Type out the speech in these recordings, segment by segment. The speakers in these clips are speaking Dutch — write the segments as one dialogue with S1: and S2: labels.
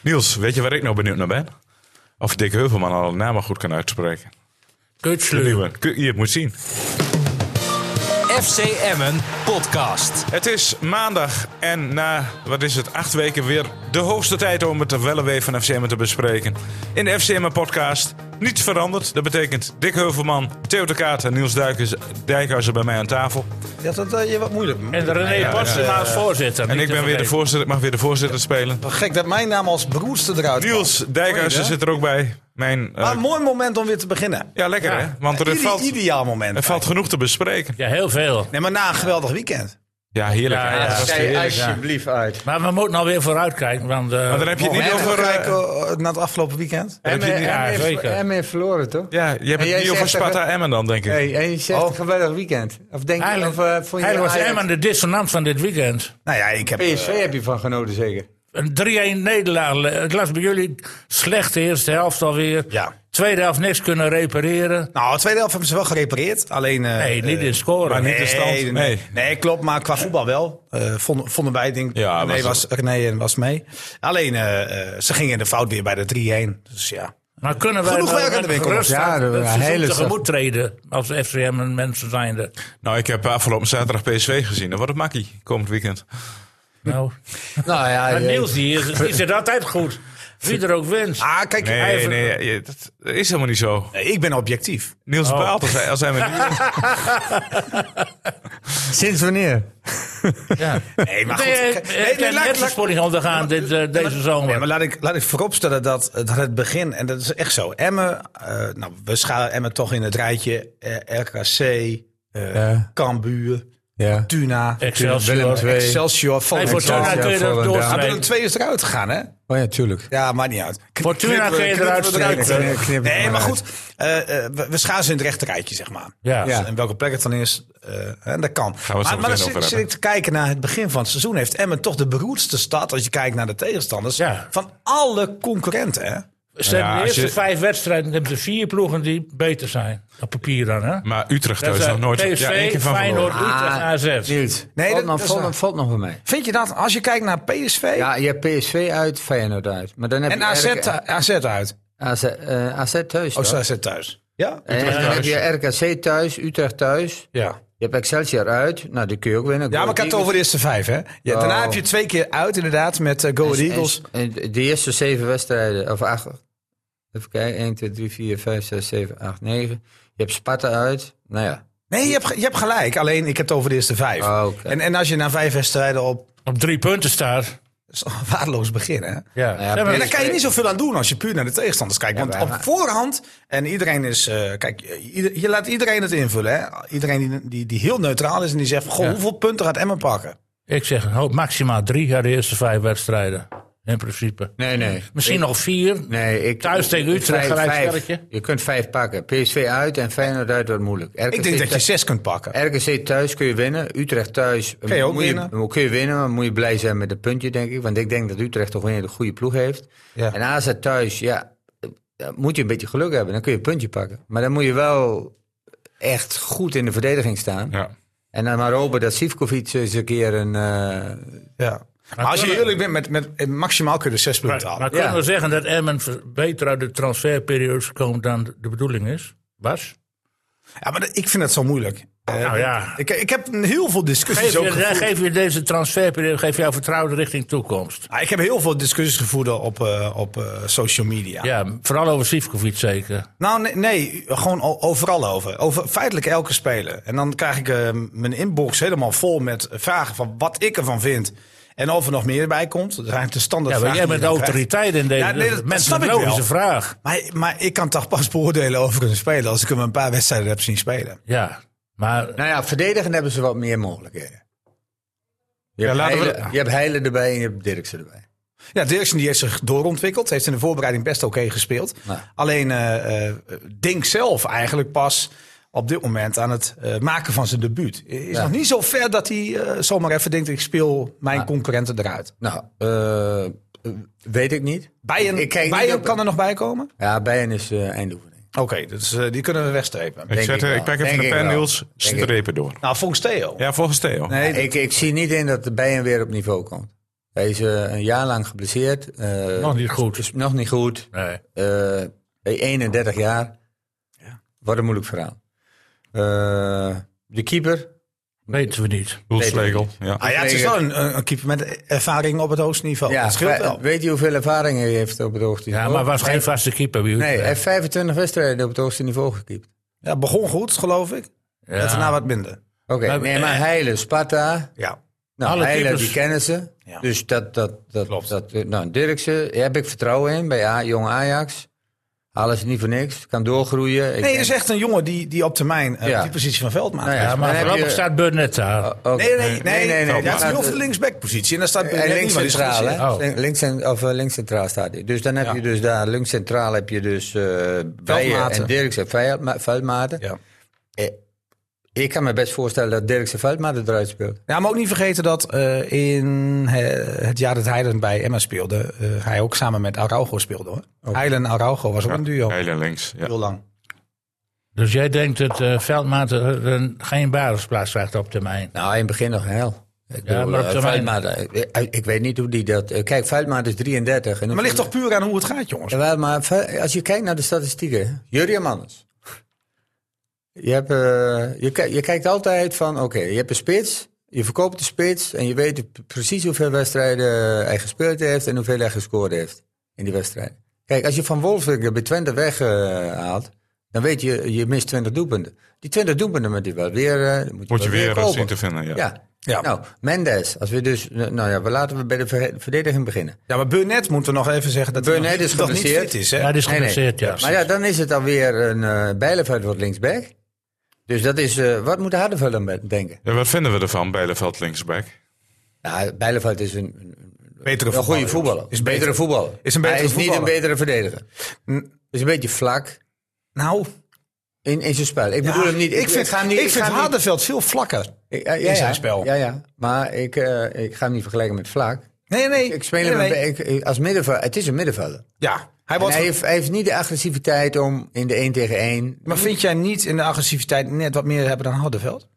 S1: Niels, weet je waar ik nou benieuwd naar ben? Of Dick Heuvelman al de naam goed kan uitspreken. De
S2: Kutsleur.
S1: nieuwe. Kun- Je hebt moet zien.
S3: FC Emmen podcast.
S1: Het is maandag en na, wat is het, acht weken weer de hoogste tijd om het wellenwee van FCM te bespreken. In de FCM podcast niets veranderd. Dat betekent Dick Heuvelman, Theo de Kaat en Niels Duikers, Dijkhuizen bij mij aan tafel.
S4: Ja, dat had je wat moeilijk.
S2: En René ja, als voorzitter.
S1: En
S2: niet
S1: ik ben weer
S2: te
S1: de
S2: vergeten.
S1: voorzitter, ik mag weer de voorzitter spelen.
S4: Wat gek dat mijn naam als beroerdste eruit kwam.
S1: Niels Dijkhuizen
S4: Mooi, hè?
S1: zit er ook bij. Mijn, eh,
S4: Maar een mooi moment om weer te beginnen.
S1: ja, lekker hè? Want er
S4: Ide-
S1: valt,
S4: Ideaal moment.
S1: er valt genoeg te bespreken.
S2: Ja, heel veel.
S4: Nee, maar na een geweldig weekend.
S1: Ja, heerlijk.
S2: Ja,
S1: hè?
S2: ja.
S1: Dat was
S5: Kijk
S1: heerlijk.
S5: alsjeblieft uit.
S2: Maar we moeten alweer vooruitkijken. Want, eh,
S1: Maar dan heb je het niet
S4: Even
S1: over... eh,
S4: kijken eh, naar het afgelopen weekend.
S1: heb je het niet-
S2: ja,
S5: Emmen heeft-
S2: zeker.
S5: Emmen heeft verloren, toch?
S1: ja, je hebt
S5: En
S1: het
S5: jij
S1: niet over
S5: zegt even-
S1: Sparta Emmen dan, denk ik.
S5: Nee, en je zegt
S4: Oh.
S5: een geweldig weekend. Of denk je,
S2: eigenlijk,
S5: of, eh, vond je
S2: eigenlijk was
S5: Ajax-
S2: Emmen de dissonant van dit weekend.
S4: Nou ja, ik heb...
S5: PSV heb je van genoten, zeker?
S2: Een 3-1 nederlaag. Ik las bij jullie slechte eerste helft alweer.
S4: Ja.
S2: Tweede helft niks kunnen repareren.
S4: Nou, de tweede helft hebben ze wel gerepareerd. Alleen... eh,
S2: Nee, niet
S4: eh,
S2: in scoren.
S1: maar niet in stand.
S4: Nee,
S1: Nee.
S4: nee. nee, klopt. Maar qua voetbal wel. Eh, vonden, vonden wij, denk ik.
S1: Ja,
S4: René,
S1: was-
S4: was, René en was mee. Alleen, eh, eh, ze gingen in de fout weer bij de 3-1. Dus ja.
S2: Maar kunnen wij
S4: Genoeg
S2: wel
S4: werk aan
S2: met
S4: de winkel.
S2: gerust
S5: Ja,
S2: aan
S5: dat
S2: het
S5: was
S2: seizoen
S5: hele
S2: tegemoet treden als FCM en mensen zijnde?
S1: Nou, ik heb afgelopen zaterdag PSV gezien. Dat wordt het makkie, komend weekend.
S2: Nou,
S5: Nou ja,
S2: maar
S5: je-
S2: Niels die, is, die zit altijd goed. Wie er ook wint.
S4: Ah, kijk.
S1: Nee,
S2: Even-
S1: nee, je- dat is helemaal niet zo.
S4: nee, Ik ben objectief.
S1: Niels
S5: Oh.
S1: bepaalt als hij, als hij met
S5: Sinds wanneer?
S2: Ja.
S4: Nee, maar Ah, goed.
S2: Nee, eh,
S4: Nee, nee,
S2: nee,
S4: laat- laat-
S2: ondergaan dit, eh, deze zomer.
S4: Nee, maar laat ik, laat ik vooropstellen dat, dat het begin, en dat is echt zo. Emmen, eh, nou, we schalen Emmen toch in het rijtje. eh, RKC, eh,
S5: Ja.
S4: Cambuur,
S5: Ja.
S4: Tuna,
S2: Excelsior.
S5: Willem II.
S4: Excelsior,
S2: Nee, Fortuna
S4: Volendam.
S5: Excelsior,
S2: kun je er
S5: Volendam.
S4: Ah, Maar door
S2: doorstrijden.
S4: een twee is eruit gegaan, hè?
S5: Oh ja, tuurlijk.
S4: Ja, maakt niet uit. Kn-
S2: Fortuna
S4: knippen we-
S2: kun je
S4: knippen
S2: eruit
S4: we
S2: steken.
S4: hè?
S5: Knip- knip het
S4: Nee, maar
S5: eruit.
S4: goed. eh, eh, we, we schaatsen in het rechte rijtje, zeg maar.
S2: Ja.
S5: Ja.
S4: Dus, En welke plek het dan is, eh, hè, dat kan.
S1: zo
S4: maar maar
S1: meteen
S4: dan
S1: over
S4: zit,
S1: hebben.
S4: zit ik te kijken naar het begin van het seizoen. Heeft Emmen toch de beroerdste stad, als je kijkt naar de tegenstanders,
S2: Ja.
S4: van alle concurrenten. Hè?
S2: Ze hebben
S1: Ja,
S2: de
S1: als
S2: eerste
S1: je-
S2: vijf wedstrijden hebben ze vier ploegen die beter zijn. Op papier dan, hè?
S1: Maar Utrecht
S2: Dat
S1: thuis nog
S5: eh,
S2: zijn
S1: nooit.
S2: PSV,
S1: ja, één keer van
S2: Feyenoord,
S1: verloren.
S4: Ah.
S2: Utrecht, AZ.
S5: Niels,
S4: Nee,
S5: nee,
S4: dat-
S5: dat,
S4: dat is
S5: valt,
S4: waar.
S5: valt nog voor mij.
S4: Vind je dat, als je kijkt naar PSV
S5: Ja, je hebt PSV uit, Feyenoord uit. Maar dan heb
S4: en
S5: je
S4: AZ,
S5: RK
S4: AZ uit?
S5: AZ, eh, AZ thuis.
S4: Oh,
S5: toch?
S4: AZ thuis. Ja?
S5: en en dan heb je RKC thuis, Utrecht thuis.
S4: Ja.
S5: Je hebt Excelsior uit. Nou, die kun je ook winnen.
S4: Ja, maar ik had het over de eerste vijf, hè? Ja, Daarna
S5: Oh.
S4: heb je twee keer uit, inderdaad, met eh, Go Ahead Eagles.
S5: En, en de eerste zeven wedstrijden, of acht. Even kijken, 1, 2, 3, 4, 5, 6, 7, 8, 9. Je hebt Sparta uit. Nou ja.
S4: Nee, je hebt, ge- je hebt gelijk. Alleen, ik heb het over de eerste vijf.
S5: Oh, oké.
S4: en, en als je na vijf wedstrijden op
S2: Op drie punten staat.
S4: is toch waardeloos begin, hè?
S2: Ja.
S5: ja,
S2: Ze hebben-
S4: En daar kan je niet zoveel aan doen als je puur naar de tegenstanders kijkt. Want
S5: Ja,
S4: op
S5: maar-
S4: voorhand, en iedereen is... eh, kijk, eh, ieder- je laat iedereen het invullen, hè? Iedereen die, die, die heel neutraal is en die zegt... van, Goh,
S2: Ja.
S4: hoeveel punten gaat Emmen pakken?
S2: Ik zeg een hoop, maximaal drie uit de eerste vijf wedstrijden. In principe.
S5: Nee, nee.
S2: Misschien nog vier.
S5: Nee, ik,
S2: Thuis tegen Utrecht
S5: vijf-
S2: gelijk
S5: vijf.
S2: sterretje.
S5: Je kunt vijf pakken. PSV uit en Feyenoord uit wordt moeilijk. RKC
S4: Ik denk dat je
S5: thuis-
S4: zes kunt pakken.
S5: RKC thuis kun je winnen. Utrecht thuis
S4: Kun je ook
S5: moet
S4: winnen.
S5: kun je winnen, maar moet je blij zijn met een puntje, denk ik. Want ik denk dat Utrecht toch een hele goede ploeg heeft.
S4: Ja.
S5: En AZ thuis, ja, eh, dan moet je een beetje geluk hebben. Dan kun je een puntje pakken. Maar dan moet je wel echt goed in de verdediging staan.
S1: Ja.
S5: En dan maar hopen dat Sivkovic eens een keer een... eh,
S4: Ja. Maar als je
S2: kunnen-
S4: eerlijk bent, met, met, met- maximaal kun je zes
S2: Maar,
S4: punten
S2: maar
S4: halen.
S2: kunnen
S5: Ja.
S2: we zeggen dat Emmen ver- beter uit de transferperiodes komt dan de bedoeling is? Was?
S4: Ja, maar dat- ik vind dat zo moeilijk. Eh,
S2: Nou ja.
S4: ik, ik heb heel veel discussies
S2: Geef
S4: ook
S2: je,
S4: gevoerd.
S2: geef je deze transferperiode geef jou vertrouwen richting toekomst.
S4: Ah, ik heb heel veel discussies gevoerd op, eh, op eh, social media.
S2: Ja, vooral over Sivkovic zeker.
S4: Nou, nee, nee, gewoon o- overal over. Over feitelijk elke speler. En dan krijg ik eh, mijn inbox helemaal vol met vragen van wat ik ervan vind. En of er nog meer bij komt. Dat is eigenlijk de standaard
S2: Ja, maar jij
S4: vraag die
S2: bent
S4: je dan krijgt.
S2: autoriteit in deze.
S4: Ja, nee, dat- dat
S2: mensen
S4: snap
S2: een
S4: ik wel.
S2: logische vraag.
S4: Maar, maar ik kan toch pas beoordelen over een speler als ik hem een paar wedstrijden heb zien spelen.
S2: Ja, maar
S5: nou ja, verdedigen hebben ze wat meer mogelijkheden. Je hebt,
S1: laten we-
S5: Heile- je hebt Heile erbij en je hebt Dirksen erbij.
S4: Ja, Dirksen die heeft zich doorontwikkeld. Heeft in de voorbereiding best oké gespeeld.
S5: Ja.
S4: Alleen eh, eh, Dink zelf eigenlijk pas op dit moment aan het eh, maken van zijn debuut. Is
S5: Ja.
S4: nog niet zo ver dat hij eh, zomaar even denkt... ik speel mijn concurrenten eruit.
S5: Nou, eh, weet ik niet.
S4: Bijen,
S5: Ik kijk niet
S4: Bijen
S5: op-
S4: kan er nog bij komen?
S5: Ja, Bijen is eh, eindoefening.
S4: Oké, dus eh, die kunnen we wegstrepen.
S1: Ik,
S5: Denk
S1: zet,
S5: ik
S1: eh,
S5: wel.
S1: ik pak even
S5: Denk
S1: de
S5: ik
S1: pen,
S5: wel.
S1: Niels.
S5: Denk ik.
S1: Strepen door.
S4: Nou, volgens Theo.
S1: Ja, volgens Theo.
S4: Nee,
S5: Ik, ik zie niet in dat de Bijen weer op niveau komt. Hij is eh, een jaar lang geblesseerd. eh,
S2: Nog niet goed.
S5: Is nog niet goed.
S2: Nee.
S5: Eh, bij 31 jaar. Wat een moeilijk verhaal. Eh, de keeper.
S2: Weten we niet.
S1: Hoelslegel. Ja.
S4: Ah ja, het is wel een, een, een keeper met ervaring op het hoogste
S2: Oh,
S4: niveau. Ja, dat scheelt
S5: wij-
S4: wel.
S5: Weet je hoeveel ervaring hij heeft op het hoogste
S2: Ja,
S5: niveau?
S2: maar was
S5: Hij-
S2: geen vaste keeper bij u.
S5: Oh, Nee, hij heeft 25 wedstrijden op het hoogste niveau gekiept.
S4: Ja, begon goed, geloof ik. En daarna wat minder.
S5: Oké,
S2: Maar- Eh.
S5: nee, maar Heilen, Sparta.
S4: Ja.
S5: Nou,
S2: Alle
S5: Heilen,
S2: keepers.
S5: die kennen ze.
S4: Ja.
S5: Dus dat, dat, dat,
S4: Klopt.
S5: dat eh, nou, Dirksen, daar heb ik vertrouwen in bij A, jong Ajax. Alles niet voor niks, kan doorgroeien. Ik
S4: Nee, dus-
S5: denk-
S4: dat is echt een jongen die, die op termijn eh,
S5: Ja.
S4: die positie van veld maakt.
S5: Nou
S2: Ja,
S5: Dan
S2: maar
S5: heb
S2: voorlopig
S5: je-
S2: staat Burnett daar.
S5: Oh, oké.
S4: Nee, nee, nee. nee, nee, Eh,
S5: die
S4: Hij heeft
S5: gaat-
S4: nu over de linksbackpositie. En daar staat
S5: En eh, links centraal,
S4: discussie.
S5: hè?
S2: Oh.
S5: Link- Links, cent- of, eh, links centraal staat hij. Dus dan heb je dus daar, links centraal heb je dus eh Bijen en Dirksen Veldma- Veldmaten.
S4: Ja.
S5: Eh, Ik kan me best voorstellen dat Dirksen Veldmaten eruit speelt.
S4: Ja, maar ook niet vergeten dat eh, in eh, het jaar dat Heilen bij Emma speelde, eh, hij ook samen met Araujo speelde hoor. Heilen en Araujo was ook een duo.
S1: Heel en links. Ja.
S4: Heel lang.
S2: Dus jij denkt dat eh Veldmaat er een- geen basisplaats krijgt op termijn.
S5: Nou, in het begin nog heel. Ik,
S2: Ja,
S5: bedoel,
S2: maar op
S5: eh,
S2: termijn-
S5: Veldmaten, eh, ik weet niet hoe die dat... eh, Kijk, Veldmaten is 33. En
S4: Maar het ligt toch puur aan hoe het gaat, jongens.
S5: Jawel, maar ve- als je kijkt naar de statistieken, Jurriën Manners. Je, hebt, eh, je, ki- je kijkt altijd van, oké, je hebt een spits, je verkoopt de spits en je weet p- precies hoeveel wedstrijden hij gespeeld heeft en hoeveel hij gescoord heeft in die wedstrijd. Kijk, als je Van Wolfswinkel bij Twente weghaalt, dan weet je, je mist 20 doelpunten. Die 20 doelpunten moet je wel weer, eh, moet je,
S1: Moet
S5: wel
S1: je weer eh,
S5: kopen.
S1: zien te vinden. Ja.
S5: Ja.
S4: Ja.
S5: Nou, Mendes, als we dus, nou ja, we laten we bij de ver- verdediging beginnen.
S4: Ja, maar Burnett moeten we nog even zeggen dat hij
S5: Burnett
S4: nog niet-
S5: is
S4: nog niet
S5: geblesseerd.
S4: fit is. Hè?
S2: Ja, die is
S5: Nee, nee.
S2: geblesseerd, ja.
S5: Maar ja, dan is het alweer een eh Bijleveld wordt linksback. Dus dat is, eh, wat moet Hardenveld dan met- denken?
S1: Ja, wat vinden we ervan, Bijleveld linksback?
S5: Ja, Bijleveld is een, een
S4: betere
S5: een goede voetballer.
S4: jongens. Is
S5: Een betere voetballer.
S4: Is een betere
S5: Hij is niet een
S4: voetballer.
S5: betere verdediger. Is een beetje vlak
S4: Nou,
S5: in, in zijn spel. Ik bedoel hem niet.
S4: Ik, vind,
S5: ga hem niet.
S4: ik vind
S5: ga hem niet-
S4: Hardenveld veel vlakker.
S5: ik- ja, ja,
S4: in zijn
S5: ja.
S4: spel.
S5: Ja, ja. Maar ik, eh, ik ga hem niet vergelijken met vlak.
S4: Nee, nee.
S5: Ik speel
S4: nee,
S5: hem een
S4: nee.
S5: be- ik- ik- als middenvelder. Het is een middenvelder.
S4: Ja, hij
S5: En
S4: wordt
S5: Hij
S4: ge-
S5: heeft, hij heeft niet de agressiviteit om in de 1 tegen 1.
S4: Maar vind jij niet in de agressiviteit net wat meer hebben dan Hardenveld?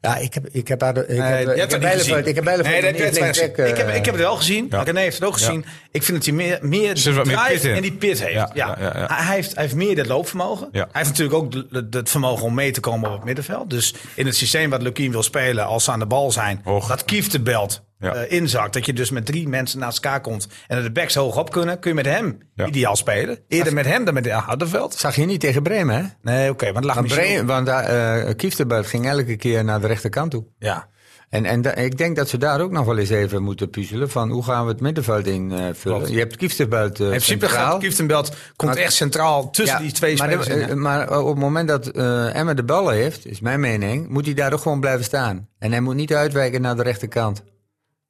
S5: Ja, ik heb, ik heb, haar- ik
S4: Nee,
S5: heb,
S4: je
S5: eh,
S4: hebt het
S5: ik heb
S4: niet
S5: Bijleveld.
S4: gezien.
S5: Ik heb Bijleveld
S4: Nee, dat
S5: niet
S4: heb je het
S5: linksback,
S4: gezien. ik, heb,
S5: eh,
S4: ik heb het wel gezien.
S1: Ja.
S4: René heeft het ook gezien. Ik vind dat hij meer, meer
S1: zit wat meer
S4: drive
S1: pit in.
S4: en die pit heeft.
S1: Ja,
S4: Ja,
S1: ja, ja, ja.
S4: Hij, hij heeft, hij heeft meer dat loopvermogen.
S1: Ja.
S4: Hij heeft natuurlijk ook de- de- het vermogen om mee te komen op het middenveld. Dus in het systeem wat Lukien wil spelen, als ze aan de bal zijn,
S1: Hoog.
S4: dat Kieft de belt
S1: Ja.
S4: eh, inzakt. Dat je dus met drie mensen naast elkaar komt en dat de backs hoog op kunnen, kun je met hem
S1: Ja.
S4: ideaal spelen. Eerder met hem dan met Hardenveld.
S5: Zag je niet tegen Bremen, hè?
S4: Nee, oké, maar het lag
S5: Want,
S4: misschien
S5: Bremen, want daar, eh, Kieftenbelt ging elke keer naar de rechterkant toe.
S4: Ja.
S5: En, en da- ik denk dat ze daar ook nog wel eens even moeten puzzelen. Van hoe gaan we het middenveld invullen? vullen?
S4: Klopt.
S5: je hebt Kieftenbelt eh
S4: In principe gaat
S5: centraal.
S4: Kieftenbelt komt
S5: Maar-
S4: echt centraal tussen
S5: Ja,
S4: die twee
S5: maar,
S4: spelers.
S5: de-
S4: in.
S5: eh, maar op het moment dat eh Emma de bal heeft, is mijn mening, moet hij daar ook gewoon blijven staan. En hij moet niet uitwijken naar de rechterkant.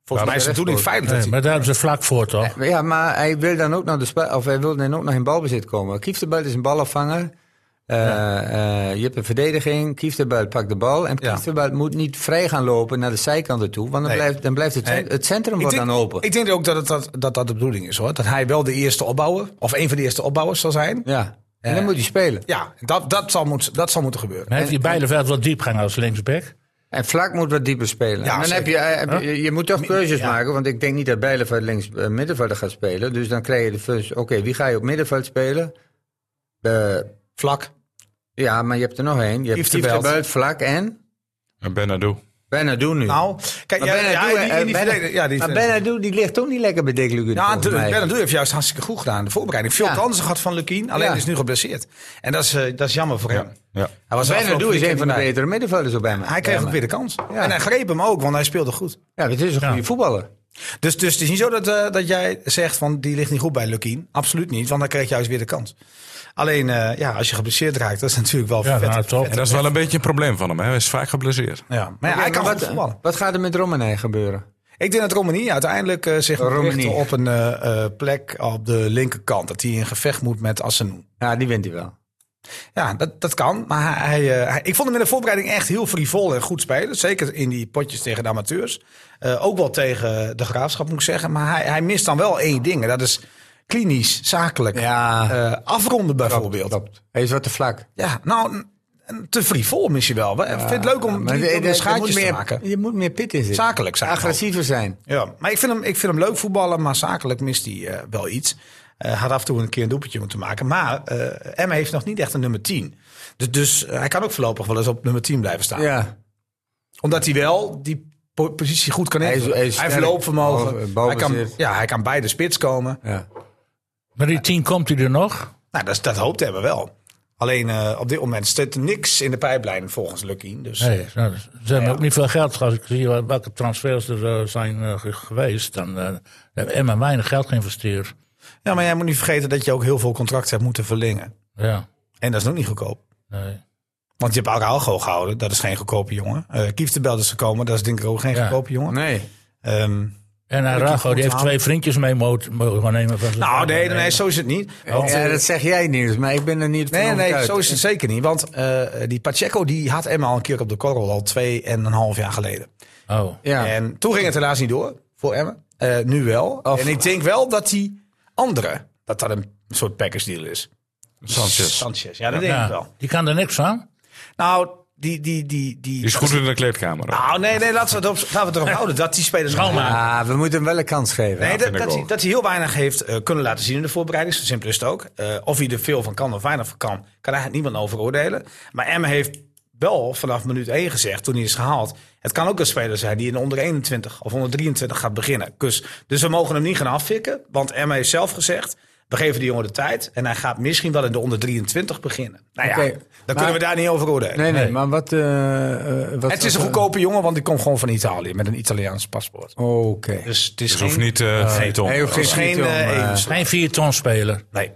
S4: Volgens mij is het bedoeling veilig. dat
S2: Nee,
S4: hij-
S2: maar daar hebben ze vlak voor, toch?
S5: Ja, maar hij wil dan ook naar de spe- of hij wil dan ook nog in balbezit komen. Kieftenbelt is een balafvanger. Eh, eh, je hebt een verdediging. Kieftenbelt pakt de bal. En
S4: Ja.
S5: Kieftenbelt moet niet vrij gaan lopen naar de zijkanten toe. Want dan,
S4: Nee.
S5: blijft, dan blijft het, cent-
S4: Nee.
S5: het centrum
S4: ik
S5: wordt
S4: denk,
S5: dan open.
S4: Ik denk ook dat, het, dat, dat dat de bedoeling is hoor. Dat hij wel de eerste opbouwer, of een van de eerste opbouwers zal zijn.
S5: ja. En dan moet hij spelen.
S4: Ja, dat, dat, zal, moet, dat zal moeten gebeuren.
S2: Dan heeft die Bijleveld wel diep gaan als linksback.
S5: En Vlak moet wat dieper spelen.
S4: Ja,
S5: en dan heb je, eh, heb je, je moet toch keuzes
S4: ja.
S5: maken. Want ik denk niet dat Bijleveld links eh, middenvelder gaat spelen. Dus dan krijg je de fus. Oké, wie ga je op middenveld spelen? Eh,
S4: Vlak.
S5: ja, maar je hebt er nog één. Je hebt
S4: Kieftenbelt.
S5: Kieftenbelt, Vlak en...
S1: En Benadou.
S5: Bijna doen nu.
S4: Nou, kijk,
S5: Maar
S4: ja, ja,
S5: Benadou,
S4: die- die-
S5: eh,
S4: die
S5: Benadou-
S4: verdediger- ja, die
S5: maar
S4: verdediger-
S5: Benadou, die ligt ook niet lekker bij Dick Lukien.
S4: Ja,
S5: volgens mij.
S4: Bernardo heeft juist hartstikke goed gedaan. De voorbereiding. Veel
S5: Ja.
S4: kansen gehad van Lukien. Alleen
S5: Ja.
S4: hij is nu geblesseerd. En dat is, eh, dat is jammer voor
S1: Ja.
S4: hem.
S1: Ja.
S4: Hij was
S5: Benadou
S4: afgelopen
S5: is een van de
S4: weekend niet
S5: betere middenvelders op bij
S4: bij. Hij kreeg ook weer de kans. En hij greep hem ook, want hij speelde goed.
S5: Ja, het is een goede
S2: Ja.
S5: voetballer.
S4: Dus, dus het is niet zo dat, eh, dat jij zegt van die ligt niet goed bij Lukien. Absoluut niet, want dan krijg je juist weer de kans. Alleen eh, ja, als je geblesseerd raakt, dat is natuurlijk wel
S2: Ja,
S4: vet.
S2: nou, toch.
S1: En dat is wel een beetje een probleem van hem. Hè? Hij is vaak geblesseerd.
S4: Ja, maar ja, hij
S5: Ja, maar
S4: kan goed
S5: wat, eh,
S4: voetballen.
S5: wat gaat er met Romane gebeuren?
S4: Ik denk dat Romani uiteindelijk eh, zich moet
S5: Romani.
S4: richten op een eh, eh, plek op de linkerkant. Dat hij in gevecht moet met Assenou.
S5: Ja, die wint hij wel.
S4: Ja, dat, dat kan. Maar hij, hij, eh, hij- ik vond hem in de voorbereiding echt heel frivol en goed spelen. Zeker in die potjes tegen de amateurs. Eh, ook wel tegen de graafschap, moet ik zeggen. Maar hij, hij mist dan wel één ding. En dat is klinisch, zakelijk.
S5: Ja,
S4: Eh, afronden bijvoorbeeld.
S5: klopt. Hij is wat te vlak.
S4: Ja, nou, n- en te frivol misschien wel. Ik vind het leuk om
S5: Maar
S4: drie
S5: je- je-
S4: domme
S5: je
S4: schaatjes
S5: moet
S4: te
S5: meer-
S4: maken.
S5: Je moet meer pit in zitten.
S4: Zakelijk zijn.
S5: Agressiever zijn.
S4: Ja, maar ik vind, hem, ik vind hem leuk voetballen, maar zakelijk mist hij eh, wel iets. Eh had af en toe een keer een doelpuntje moeten maken. Maar eh Emma heeft nog niet echt een nummer 10. Dus, dus eh, hij kan ook voorlopig wel eens op nummer 10 blijven staan.
S5: Ja.
S4: Omdat hij wel die po- positie goed kan
S5: is-
S4: invullen. Hij,
S5: hij is
S4: heeft
S5: sterk.
S4: loopvermogen.
S5: Boven- boven
S4: hij, kan,
S5: zit.
S4: ja, hij kan bij de spits komen.
S5: ja.
S2: Maar die tien komt hij er nog?
S4: Nou, dat, dat hoopt hebben we wel. Alleen eh, op dit moment zit niks in de pijplijn volgens Lucky. Dus
S2: Nee, nou, ze hebben ook niet veel geld. Als ik zie wat- welke transfers er eh, zijn eh, ge- geweest, dan eh hebben Emma weinig geld geïnvesteerd.
S4: Ja, maar jij moet niet vergeten dat je ook heel veel contracten hebt moeten verlengen.
S2: Ja,
S4: En dat is nog niet goedkoop.
S2: nee.
S4: Want je hebt Araujo gehouden, dat is geen goedkope jongen. Eh Kieftenbelt is gekomen, dat is denk ik ook geen
S2: Ja.
S4: goedkope jongen.
S5: Nee.
S4: Ehm,
S2: En Arago, die heeft twee vriendjes mee mo- mogen nemen. Van zijn
S4: nou,
S2: vader.
S4: nee, nee, zo is het niet. Want,
S5: ja,
S4: eh,
S5: dat zeg jij niet, maar ik ben er niet van
S4: nee, nee,
S5: overtuigd.
S4: zo is het zeker niet. Want eh, die Pacheco die had Emma al een keer op de korrel, al twee en een half jaar geleden.
S2: Oh,
S5: Ja.
S4: En toen ging het helaas niet door voor Emma. Eh, nu wel.
S5: Of-
S4: En ik denk wel dat die andere, dat dat een soort package deal is.
S1: Sanchez.
S4: Sanchez, ja, dat denk ik wel.
S2: ja. Nou, Die kan er niks van.
S4: Nou, die, die, die, die,
S1: Die is goed in de kleedkamer. hoor.
S4: Nou, nee, nee, laten we het, op, laten we het erop houden dat die spelers
S2: Schoonmaken.
S5: Ah, we moeten hem wel een kans geven.
S4: Nee, dat,
S1: vind ik
S4: dat,
S1: wel.
S4: hij, dat hij heel weinig heeft eh, kunnen laten zien in de voorbereiding. Zo simpel is het ook. Eh, of hij er veel van kan of weinig van kan, kan eigenlijk niemand over oordelen. Maar Emma heeft wel vanaf minuut 1 gezegd, toen hij is gehaald... het kan ook een speler zijn die in de onder 21 of onder 23 gaat beginnen. Dus, dus we mogen hem niet gaan afvikken, want Emma heeft zelf gezegd... we geven die jongen de tijd en hij gaat misschien wel in de onder 23 beginnen. Nou ja,
S5: Oké,
S4: dan
S5: maar-
S4: kunnen we daar niet over oordelen.
S5: nee, nee,
S2: Nee.
S5: maar wat, eh, Oh. eh, wat...
S4: Het is een
S5: wat-
S4: goedkope jongen, want die komt gewoon van Italië met een Italiaans paspoort.
S5: Oké.
S4: Dus het is
S1: Dus
S4: geen,
S1: hoeft niet, eh niet om.
S5: Hij hoeft
S4: het is geen
S5: titel,
S4: eh,
S5: maar-
S4: Evans.
S2: Geen vier ton speler.
S4: Nee.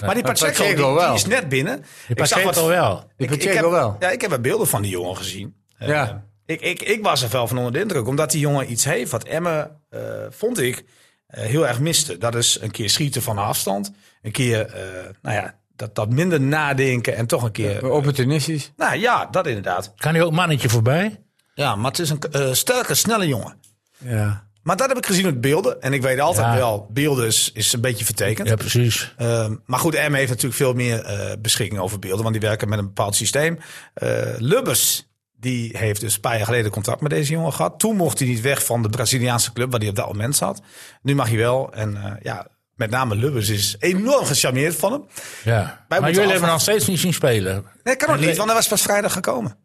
S4: Maar die
S5: Maar
S4: Pacheco,
S5: Pacheco
S4: die- die,
S5: wel.
S4: is net binnen.
S2: Die Pacheco wel.
S5: Die
S4: ik- ik
S5: Pacheco
S4: heb-
S5: wel.
S4: Ja, ik heb wat beelden van die jongen gezien. Eh,
S5: Ja.
S4: ik, ik, ik was er wel van onder de indruk. Omdat die jongen iets heeft wat Emme, eh, vond ik, eh, heel erg miste. Dat is een keer schieten van afstand. Een keer, eh, nou ja, dat, dat minder nadenken en toch een keer...
S5: Eh, Opportunistisch.
S4: Nou ja, dat inderdaad.
S2: Kan hij ook mannetje voorbij?
S4: Ja, maar het is een eh, sterke, snelle jongen.
S5: Ja.
S4: Maar dat heb ik gezien op beelden. En ik weet altijd
S2: Ja.
S4: wel, beelden is, is een beetje vertekend.
S2: Ja, precies.
S4: Ehm, maar goed, M heeft natuurlijk veel meer eh, beschikking over beelden, want die werken met een bepaald systeem. Eh, Lubbers, die heeft dus een paar jaar geleden contact met deze jongen gehad. Toen mocht hij niet weg van de Braziliaanse club waar hij op dat moment zat. Nu mag hij wel. En eh, ja, met name Lubbers is enorm gecharmeerd van hem.
S2: Ja. Maar
S4: moeten
S2: jullie hebben
S4: afwachten.
S2: nog steeds niet zien spelen.
S4: Nee, kan ook
S2: Nee.
S4: niet, want hij was pas vrijdag gekomen.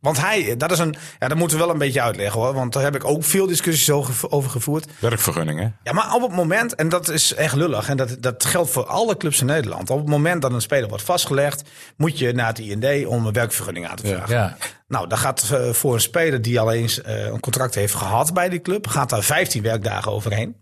S4: Want hij, eh, dat is een, ja, dat moeten we wel een beetje uitleggen hoor. Want daar heb ik ook veel discussies over gevo- over gevoerd.
S1: Werkvergunning, hè?
S4: Ja, maar op het moment, en dat is echt lullig, en dat, dat geldt voor alle clubs in Nederland. Op het moment dat een speler wordt vastgelegd, moet je naar het IND om een werkvergunning aan te vragen.
S2: Ja. Oh,
S4: Nou, dan gaat eh, voor een speler die al eens eh, een contract heeft gehad bij die club, gaat daar 15 werkdagen overheen.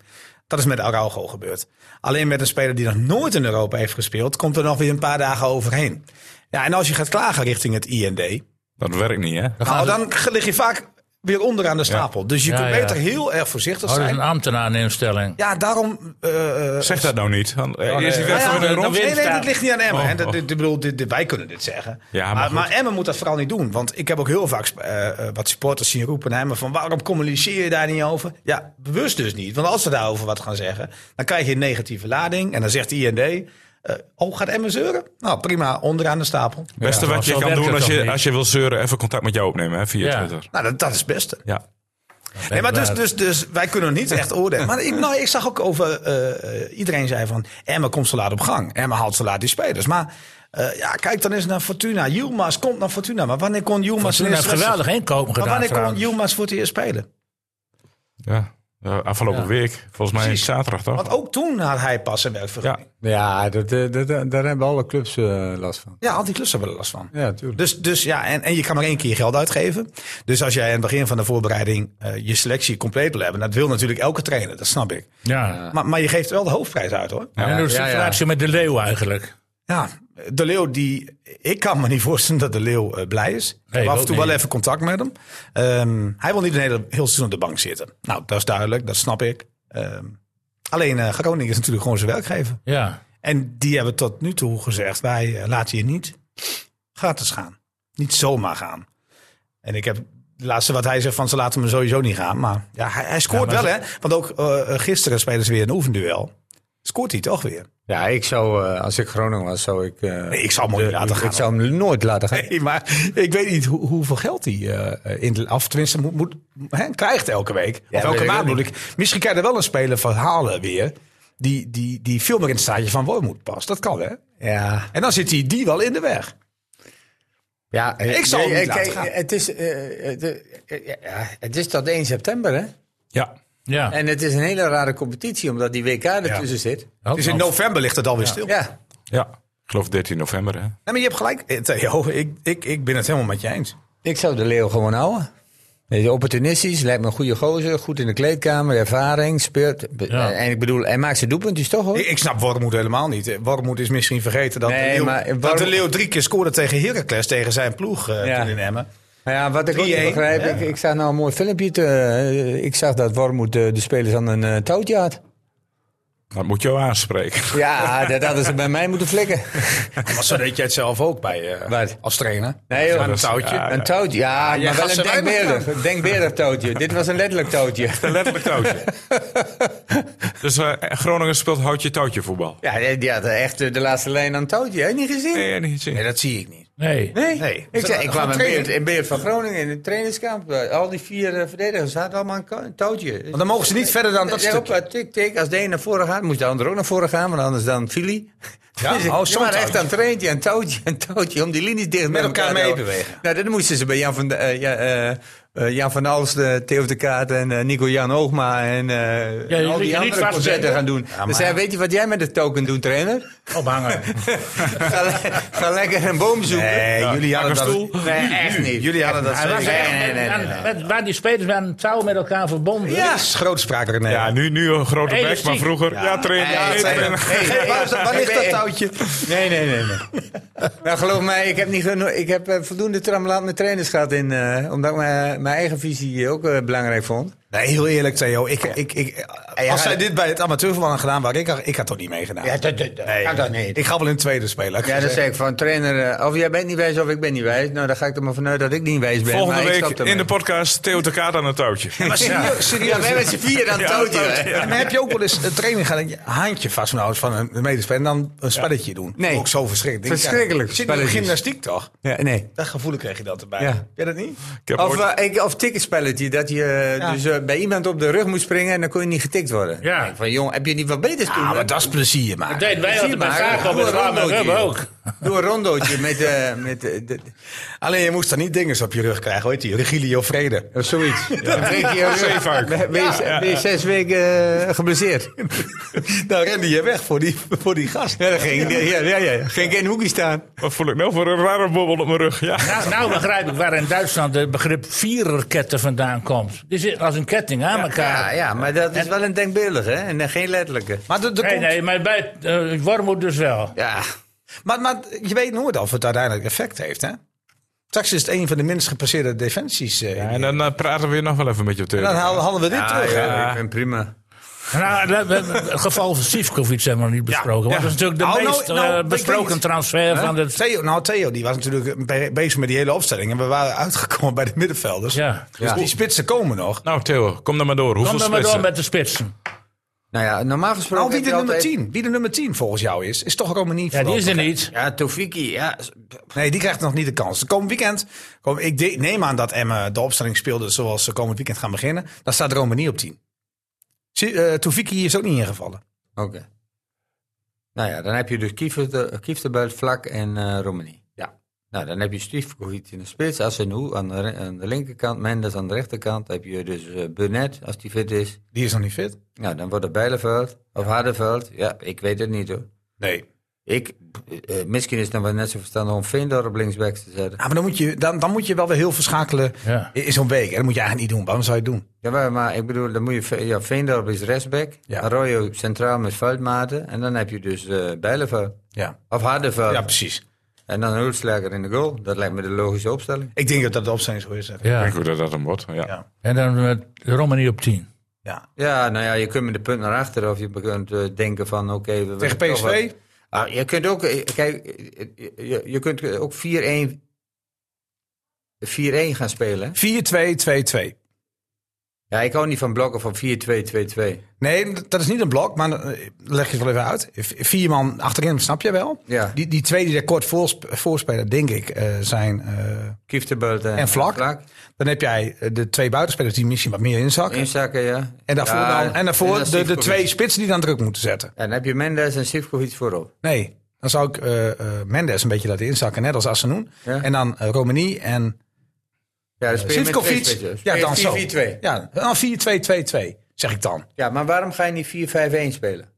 S4: Dat is met Araujo gebeurd. Alleen met een speler die nog nooit in Europa heeft gespeeld, komt er nog weer een paar dagen overheen. Ja, en als je gaat klagen richting het IND,
S1: Dat werkt niet, hè?
S4: nou, dan lig je vaak weer onderaan de stapel. Dus je
S2: Ja,
S4: kunt
S2: ja.
S4: beter heel erg voorzichtig
S2: Oh, dat is een
S4: zijn.
S2: ambtenaar-instelling.
S4: Ja, daarom eh, eh,
S1: Zeg dat nou niet. want, eh,
S2: Oh, nee.
S1: Is die
S2: Ja, ja,
S1: werkvergunning
S2: dan
S1: rond?
S2: weer-
S4: Nee, nee, dit ligt niet aan Emmen.
S1: Oh,
S4: hè. Dat-
S1: oh.
S4: dit- dit- bedoel, dit- dit- wij kunnen dit zeggen.
S1: Ja, maar
S4: maar,
S1: goed.
S4: maar Emmen moet dat vooral niet doen. Want ik heb ook heel vaak eh, eh, wat supporters zien roepen naar Emmen van... waarom communiceer je daar niet over? Ja, bewust dus niet. Want als ze daarover wat gaan zeggen, dan krijg je een negatieve lading. En dan zegt de IND, eh, oh, gaat Emmen zeuren? Nou, prima, onderaan de stapel.
S1: Het beste
S2: Ja,
S1: wat je
S2: zo
S1: kan
S2: werkt
S1: doen
S2: het
S1: als
S2: toch
S1: je,
S2: niet?
S1: als je wil zeuren, even contact met jou opnemen hè, via
S2: Ja.
S1: Twitter.
S4: Nou, dat, dat is het beste.
S1: Ja.
S4: Nee, maar dus, dus, dus wij kunnen niet echt oordelen. Maar ik, nou, ik zag ook over... eh, eh, iedereen zei van... Emma komt zo laat op gang. Emma haalt zo laat die spelers. Maar eh, ja, kijk dan eens naar Fortuna. Yilmaz komt naar Fortuna. Maar wanneer kon Yilmaz...
S2: Toen
S4: zijn
S2: heeft
S4: eerste
S2: geweldig
S4: wedstrijd-
S2: inkomen
S4: dus- Maar
S2: gedaan
S4: wanneer kon
S2: trouwens.
S4: Yilmaz voor het eerst spelen?
S1: ja. Eh, afgelopen week, volgens mij
S4: Precies.
S1: zaterdag toch?
S4: Want ook toen had hij pas een werkvergunning. Ja,
S5: Ja, dat, eh, dat, dat- daar hebben alle clubs eh, last van.
S4: al die klussen hebben er last van.
S5: Ja, tuurlijk.
S4: Dus, dus ja, en, en je kan maar één keer geld uitgeven. Dus als jij aan het begin van de voorbereiding eh, je selectie compleet wil hebben... dat wil natuurlijk elke trainer, dat snap ik.
S2: Ja.
S4: Maar, maar je geeft wel de hoofdprijs uit, hoor.
S2: En de
S5: ja, ja.
S2: situatie met de Leeuw eigenlijk.
S4: Ja, de Leeuw die... Ik kan me niet voorstellen dat de Leeuw eh, blij is. Ik
S2: Nee,
S4: heb af en
S2: ook
S4: toe
S2: niet.
S4: wel even contact met hem. Ehm, hij wil niet een hele, heel seizoen op de bank zitten. Nou, dat is duidelijk. Dat snap ik. Ehm, alleen eh, Groningen is natuurlijk gewoon zijn werkgever.
S2: Ja.
S4: En die hebben tot nu toe gezegd... wij eh, laten je niet gratis gaan. Niet zomaar gaan. En ik heb... Het laatste wat hij zegt van ze laten me sowieso niet gaan. Maar ja, hij, hij scoort
S2: Ja, maar
S4: wel hè. Want ook eh, eh, gisteren spelen ze weer een oefenduel. scoort hij toch weer.
S5: Ja, ik zou, eh, als ik Groningen was, zou ik... eh,
S4: Nee, ik zou hem nooit
S5: de-
S4: laten gaan,
S5: Ik zou hem nooit laten gaan.
S4: Nee, maar ik weet niet hoe, hoeveel geld hij eh in de, of tenminste moet, moet, hè, krijgt elke week. of
S5: weet
S4: elke
S5: ik
S4: maand
S5: ook
S4: moet
S5: niet.
S4: ik. Misschien kan je er wel een speler van halen weer. Die, die, die veel meer in het staatje van woon moet past. Dat kan hè.
S5: Ja.
S4: En dan zit hij die wel in de weg.
S5: Ja, eh,
S4: Ik zal hem niet
S5: eh,
S4: laten
S5: kijk,
S4: gaan.
S5: Het is, eh, eh, de- eh, ja, het is tot 1 september, hè?
S1: Ja.
S2: Ja.
S5: En het is een hele rare competitie, omdat die WK ertussen zit.
S2: Ook
S4: Dus in
S2: nog.
S4: november ligt het alweer stil.
S5: Oh, nou. Ja,
S1: ja. Ik geloof 13 november, hè?
S4: Nee, maar je hebt gelijk. eh, Theo, ik, ik, ik ben het helemaal met je eens.
S5: ik zou de Leeuw gewoon houden. Weet je, Opportunistisch, lijkt me een goede gozer. Goed in de kleedkamer, ervaring, speelt. Be- eh,
S2: Ja.
S5: En ik bedoel, hij maakt zijn doelpuntjes toch, hoor?
S4: Ik, ik snap Wormoed helemaal niet. Eh, Wormoed is misschien vergeten dat,
S5: Oh. Nee,
S4: de, Leeuw,
S5: maar
S4: dat de
S5: Wormoed-
S4: Leeuw drie keer scoorde tegen Heracles, tegen zijn ploeg eh,
S5: Ja.
S4: toen in Emmen.
S5: Nou ja, wat ik ook niet
S4: 3-1,
S5: begrijp,
S4: ja.
S5: ik, ik zag nou een mooi filmpje. Te, eh, ik zag dat Wormoed eh, de spelers aan een eh, touwtje had.
S1: Dat moet jou aanspreken.
S5: Ja, dat hadden ze bij mij moeten flikken.
S4: Maar zo deed jij het zelf ook bij, eh,
S5: Wat?
S4: als trainer.
S5: Nee, joh.
S4: Aan een touwtje.
S1: Ja,
S5: Een touwtje, Ah, ja,
S4: jij
S5: maar wel
S4: gaat
S5: een
S4: ze weinig
S5: denkbeeldig, een denkbeeldig touwtje. Dit was een letterlijk touwtje.
S1: Een letterlijk touwtje. dus eh, Groningen speelt houtje touwtje voetbal.
S5: Ja, die die had echt eh, de laatste lijn aan het touwtje. Heb je niet gezien?
S1: Nee, niet zien.
S4: Nee, dat zie ik niet.
S2: Nee.
S5: Nee.
S4: Nee.
S5: Ik, zei, ik
S4: Gewoon
S5: kwam in
S4: trainen.
S5: beeld, in beeld van Groningen in het trainingskamp. eh, Al die vier eh, verdedigers hadden allemaal een ka- een touwtje. Dus-
S4: Want dan mogen ze niet verder dan dat
S5: Ja,
S4: stukje.
S5: hoppa, tik, tik. Als de een naar voren gaat, moest de ander ook naar voren gaan, want anders dan viel hij. Dus
S4: Ja,
S5: ik-
S4: oh,
S5: die
S4: zo'n
S5: waren echt
S4: touwtje.
S5: aan het traintje en touwtje en touwtje om die linies dicht met,
S4: elkaar
S5: te houden.
S4: meebewegen.
S5: Nou, dat moesten ze bij Jan van, de, eh, ja, eh, eh, Jan van Als, de Theo de Kaat en eh, Nico Jan Oogma en, eh, en
S2: je
S5: al
S2: liet je
S5: die
S2: niet
S5: andere concerten
S2: vastzetten.
S5: gaan doen. Ze zei, weet je wat jij met de token doet, trainer?
S2: Ophangen.
S5: ga, le- ga lekker een boom zoeken.
S4: Nee, jullie hadden
S1: pak een
S4: dat...
S5: Nee, echt niet.
S4: Jullie hadden dat
S2: Hij was
S4: zeker.
S5: nee,
S2: echt
S5: nee,
S2: met-
S5: nee, nee,
S2: aan-
S5: nee.
S2: met- Waar die spelers waren een touw met elkaar verbonden.
S4: Ja, is grootspraak René.
S1: Ja, nu, nu een grote
S2: Hey,
S1: bek,
S2: dat
S1: maar
S2: zie-
S1: vroeger. Ja, trainen.
S5: Ja,
S1: Ja,
S5: dat zei je.
S1: trainen.
S5: Hey, hey,
S4: Waar, is dat- waar ligt dat
S5: hey,
S4: touwtje?
S5: Nee, nee, nee. nee. nou, geloof mij, ik heb, niet geno- ik heb eh, voldoende tramlaat met trainers gehad. In, eh, omdat ik mijn, mijn eigen visie ook eh, belangrijk vond.
S4: Nee, heel eerlijk Theo. Ik, ik, ik,
S5: ja,
S4: als zij
S5: dat-
S4: dit bij het amateurvoetbal hadden gedaan, waar ik, ik had toch niet meegedaan.
S5: dat, dat, dat
S4: Nee.
S5: kan toch niet?
S4: Ik ga wel in het tweede spelen. had ik
S5: ja, dan
S4: gezegd.
S5: zeg ik van trainer, eh, of jij bent niet wijs of ik ben niet wijs. Nou, dan ga ik er maar vanuit dat ik niet wijs ben.
S1: Volgende
S5: maar ik
S1: week
S5: stop ermee.
S1: in de podcast Theo de Kaat aan het touwtje.
S4: Maar serieus,
S5: Ja,
S4: serieus.
S5: wij met z'n vier aan het touwtje. hè?
S4: En dan heb je ook wel eens een training gehad dat je handje vasthouden van een medespeler en dan een spelletje doen?
S5: Nee.
S4: Ook zo verschrikkelijk.
S5: Verschrikkelijk,
S4: Ja, Zit in de
S5: spelletjes.
S4: gymnastiek toch?
S5: Ja, nee.
S4: Dat gevoel kreeg je dat erbij.
S5: Ja.
S4: Ken je dat niet?
S1: Ik heb
S5: Of,
S1: ooit-
S5: eh, ik, of tikkenspelletje, dat je eh,
S4: Ja.
S5: dus, eh, bij iemand op de rug moet springen en dan kon je niet getikt worden.
S2: Ja.
S5: Ik denk Van jong, heb je niet wat beters
S4: Ja,
S5: doen?
S4: Ah, maar dat is plezier maken.
S2: Dat deden wij altijd bij Zago met Warme Rubber ook.
S5: Doe een rondootje met, eh met eh, de-
S4: Alleen je moest dan niet dinges op je rug krijgen, weet je? Regilio Vrede.
S5: of zoiets. Dan breek je je rug.
S1: Zeefuik.
S5: Ben- ben je- ben je zes weken eh, geblesseerd.
S4: Dan rende je Nou, weg voor die, voor die gast.
S5: Ja, dan ging, ja, ja, ja, ging ik in een hoekje staan.
S1: Wat voel ik nou voor een rare bobbel op mijn rug? Ja.
S2: Nou, nou begrijp ik waar in Duitsland het begrip viererketten vandaan komt. Die zit als een ketting aan elkaar.
S5: Ja, ja, maar dat is wel een denkbeeldige hè? en eh, geen letterlijke.
S4: Maar, de, de
S2: Nee,
S4: komt-
S2: nee, maar bij eh, Wormoed dus wel.
S5: Ja,
S4: Maar, maar je weet nooit of het uiteindelijk effect heeft, hè? Straks is het een van de minst gepasseerde defensies. eh,
S1: En dan eh, praten we hier nog wel even met je op
S4: en dan
S1: Theo.
S4: haal- halen we dit terug. hè?
S5: ik ben prima.
S2: Nou, we hebben het geval van Sivkovic hebben we nog niet besproken. Want
S4: ja.
S2: dat is natuurlijk de
S4: Nou, nou,
S2: meest eh,
S4: nou, ik weet
S2: besproken
S4: niet.
S2: transfer
S4: Hè?
S2: van het...
S4: Theo, nou, Theo die was natuurlijk be- bezig met die hele opstelling. En we waren uitgekomen bij de middenvelders.
S2: Ja.
S4: Dus die spitsen komen nog.
S1: Nou, Theo, kom dan maar door. Hoeveel
S2: Kom dan maar door
S1: spitsen?
S2: met de spitsen.
S5: Nou ja, normaal gesproken.
S4: Nou, wie
S5: heb
S4: de
S5: je
S4: nummer
S5: altijd-
S4: 10? Wie de nummer 10 volgens jou is, is toch Romani
S2: Ja, die is er niet.
S5: Ja, Tofiki, ja.
S4: Nee, die krijgt nog niet de kans. De komend weekend, kom, ik de- neem aan dat Emma de opstelling speelde zoals ze komend weekend gaan beginnen. Dan staat Romani op 10. Zie- eh, Tofiki is ook niet ingevallen.
S5: Oké. Nou ja, dan heb je dus Kieftenbuit, Vlak en eh Romani. Ja. Nou, dan heb je Stiefkovic in de spits, Assenou aan de, re- aan de linkerkant, Mendes aan de rechterkant. Dan heb je dus eh Burnett, als die fit is.
S4: Die is nog niet fit.
S5: Nou, dan wordt het Bijleveld of Hardenveld. Ja, ik weet het niet hoor.
S4: Nee.
S5: Ik, eh, eh, misschien is het dan wel net zo verstandig om Veendorp op linksback te zetten.
S4: Ja, maar dan moet, je, dan, dan moet je wel weer heel verschakelen
S2: Ja.
S4: in in zo'n week. En dat moet je eigenlijk niet doen. Waarom zou je het doen?
S5: Ja, maar, maar ik bedoel, dan moet je, Ve- ja, Veendorp is rechtsback,
S4: Ja.
S5: Arroyo centraal met Veldmaten. En dan heb je dus eh Bijleveld
S4: Ja, Eh,
S5: of Hardenveld.
S4: ja precies.
S5: En dan Hulslager in de goal. Dat lijkt me de logische opstelling.
S4: Ik denk dat dat de opstelling zo is. hè.
S1: Ik
S2: Ja.
S1: denk hoe dat dat hem wordt.
S4: Ja.
S1: Ja.
S2: En dan met Romani op 10.
S4: Ja.
S5: Ja, nou ja, je kunt met de punt naar achter. Of je kunt eh, denken van, oké... we willen
S4: Tegen
S5: toch wat-
S4: PSV?
S5: Ah, je kunt ook... eh, Kijk, eh, je, je kunt ook 4-1... 4-1 gaan spelen.
S4: 4-2-2-2.
S5: Ja, ik hou niet van blokken van 4-2-2-2.
S4: Nee, d- dat is niet een blok, maar eh, leg je het wel even uit. V- Vier man achterin, snap je wel?
S5: Ja.
S4: Die, die twee die er kort voorsp- voorspelen, denk ik, eh, zijn... eh,
S5: Kieftenbelt en,
S4: en vlak. Dan heb jij eh, de twee buitenspelers die misschien wat meer inzakken.
S5: Inzakken, ja.
S4: en daarvoor,
S5: Ja,
S4: dan, en daarvoor
S5: dan
S4: de, de
S5: Sivkovic.
S4: twee spitsen die dan druk moeten zetten.
S5: En dan heb je Mendes en Sivkovic voorop.
S4: Nee, dan zou ik eh, eh, Mendes een beetje laten inzakken, net als Assenoen.
S5: Ja.
S4: En dan eh, Romani en
S5: Ja, dan speel je met twee
S4: Sivkovic.
S5: spitsen.
S4: Ja,
S5: Speel
S4: dan
S5: je
S4: zo.
S5: 4-4-2.
S4: Ja, dan 4-2-2-2, zeg ik dan.
S5: Ja, maar waarom ga je niet 4-5-1 spelen?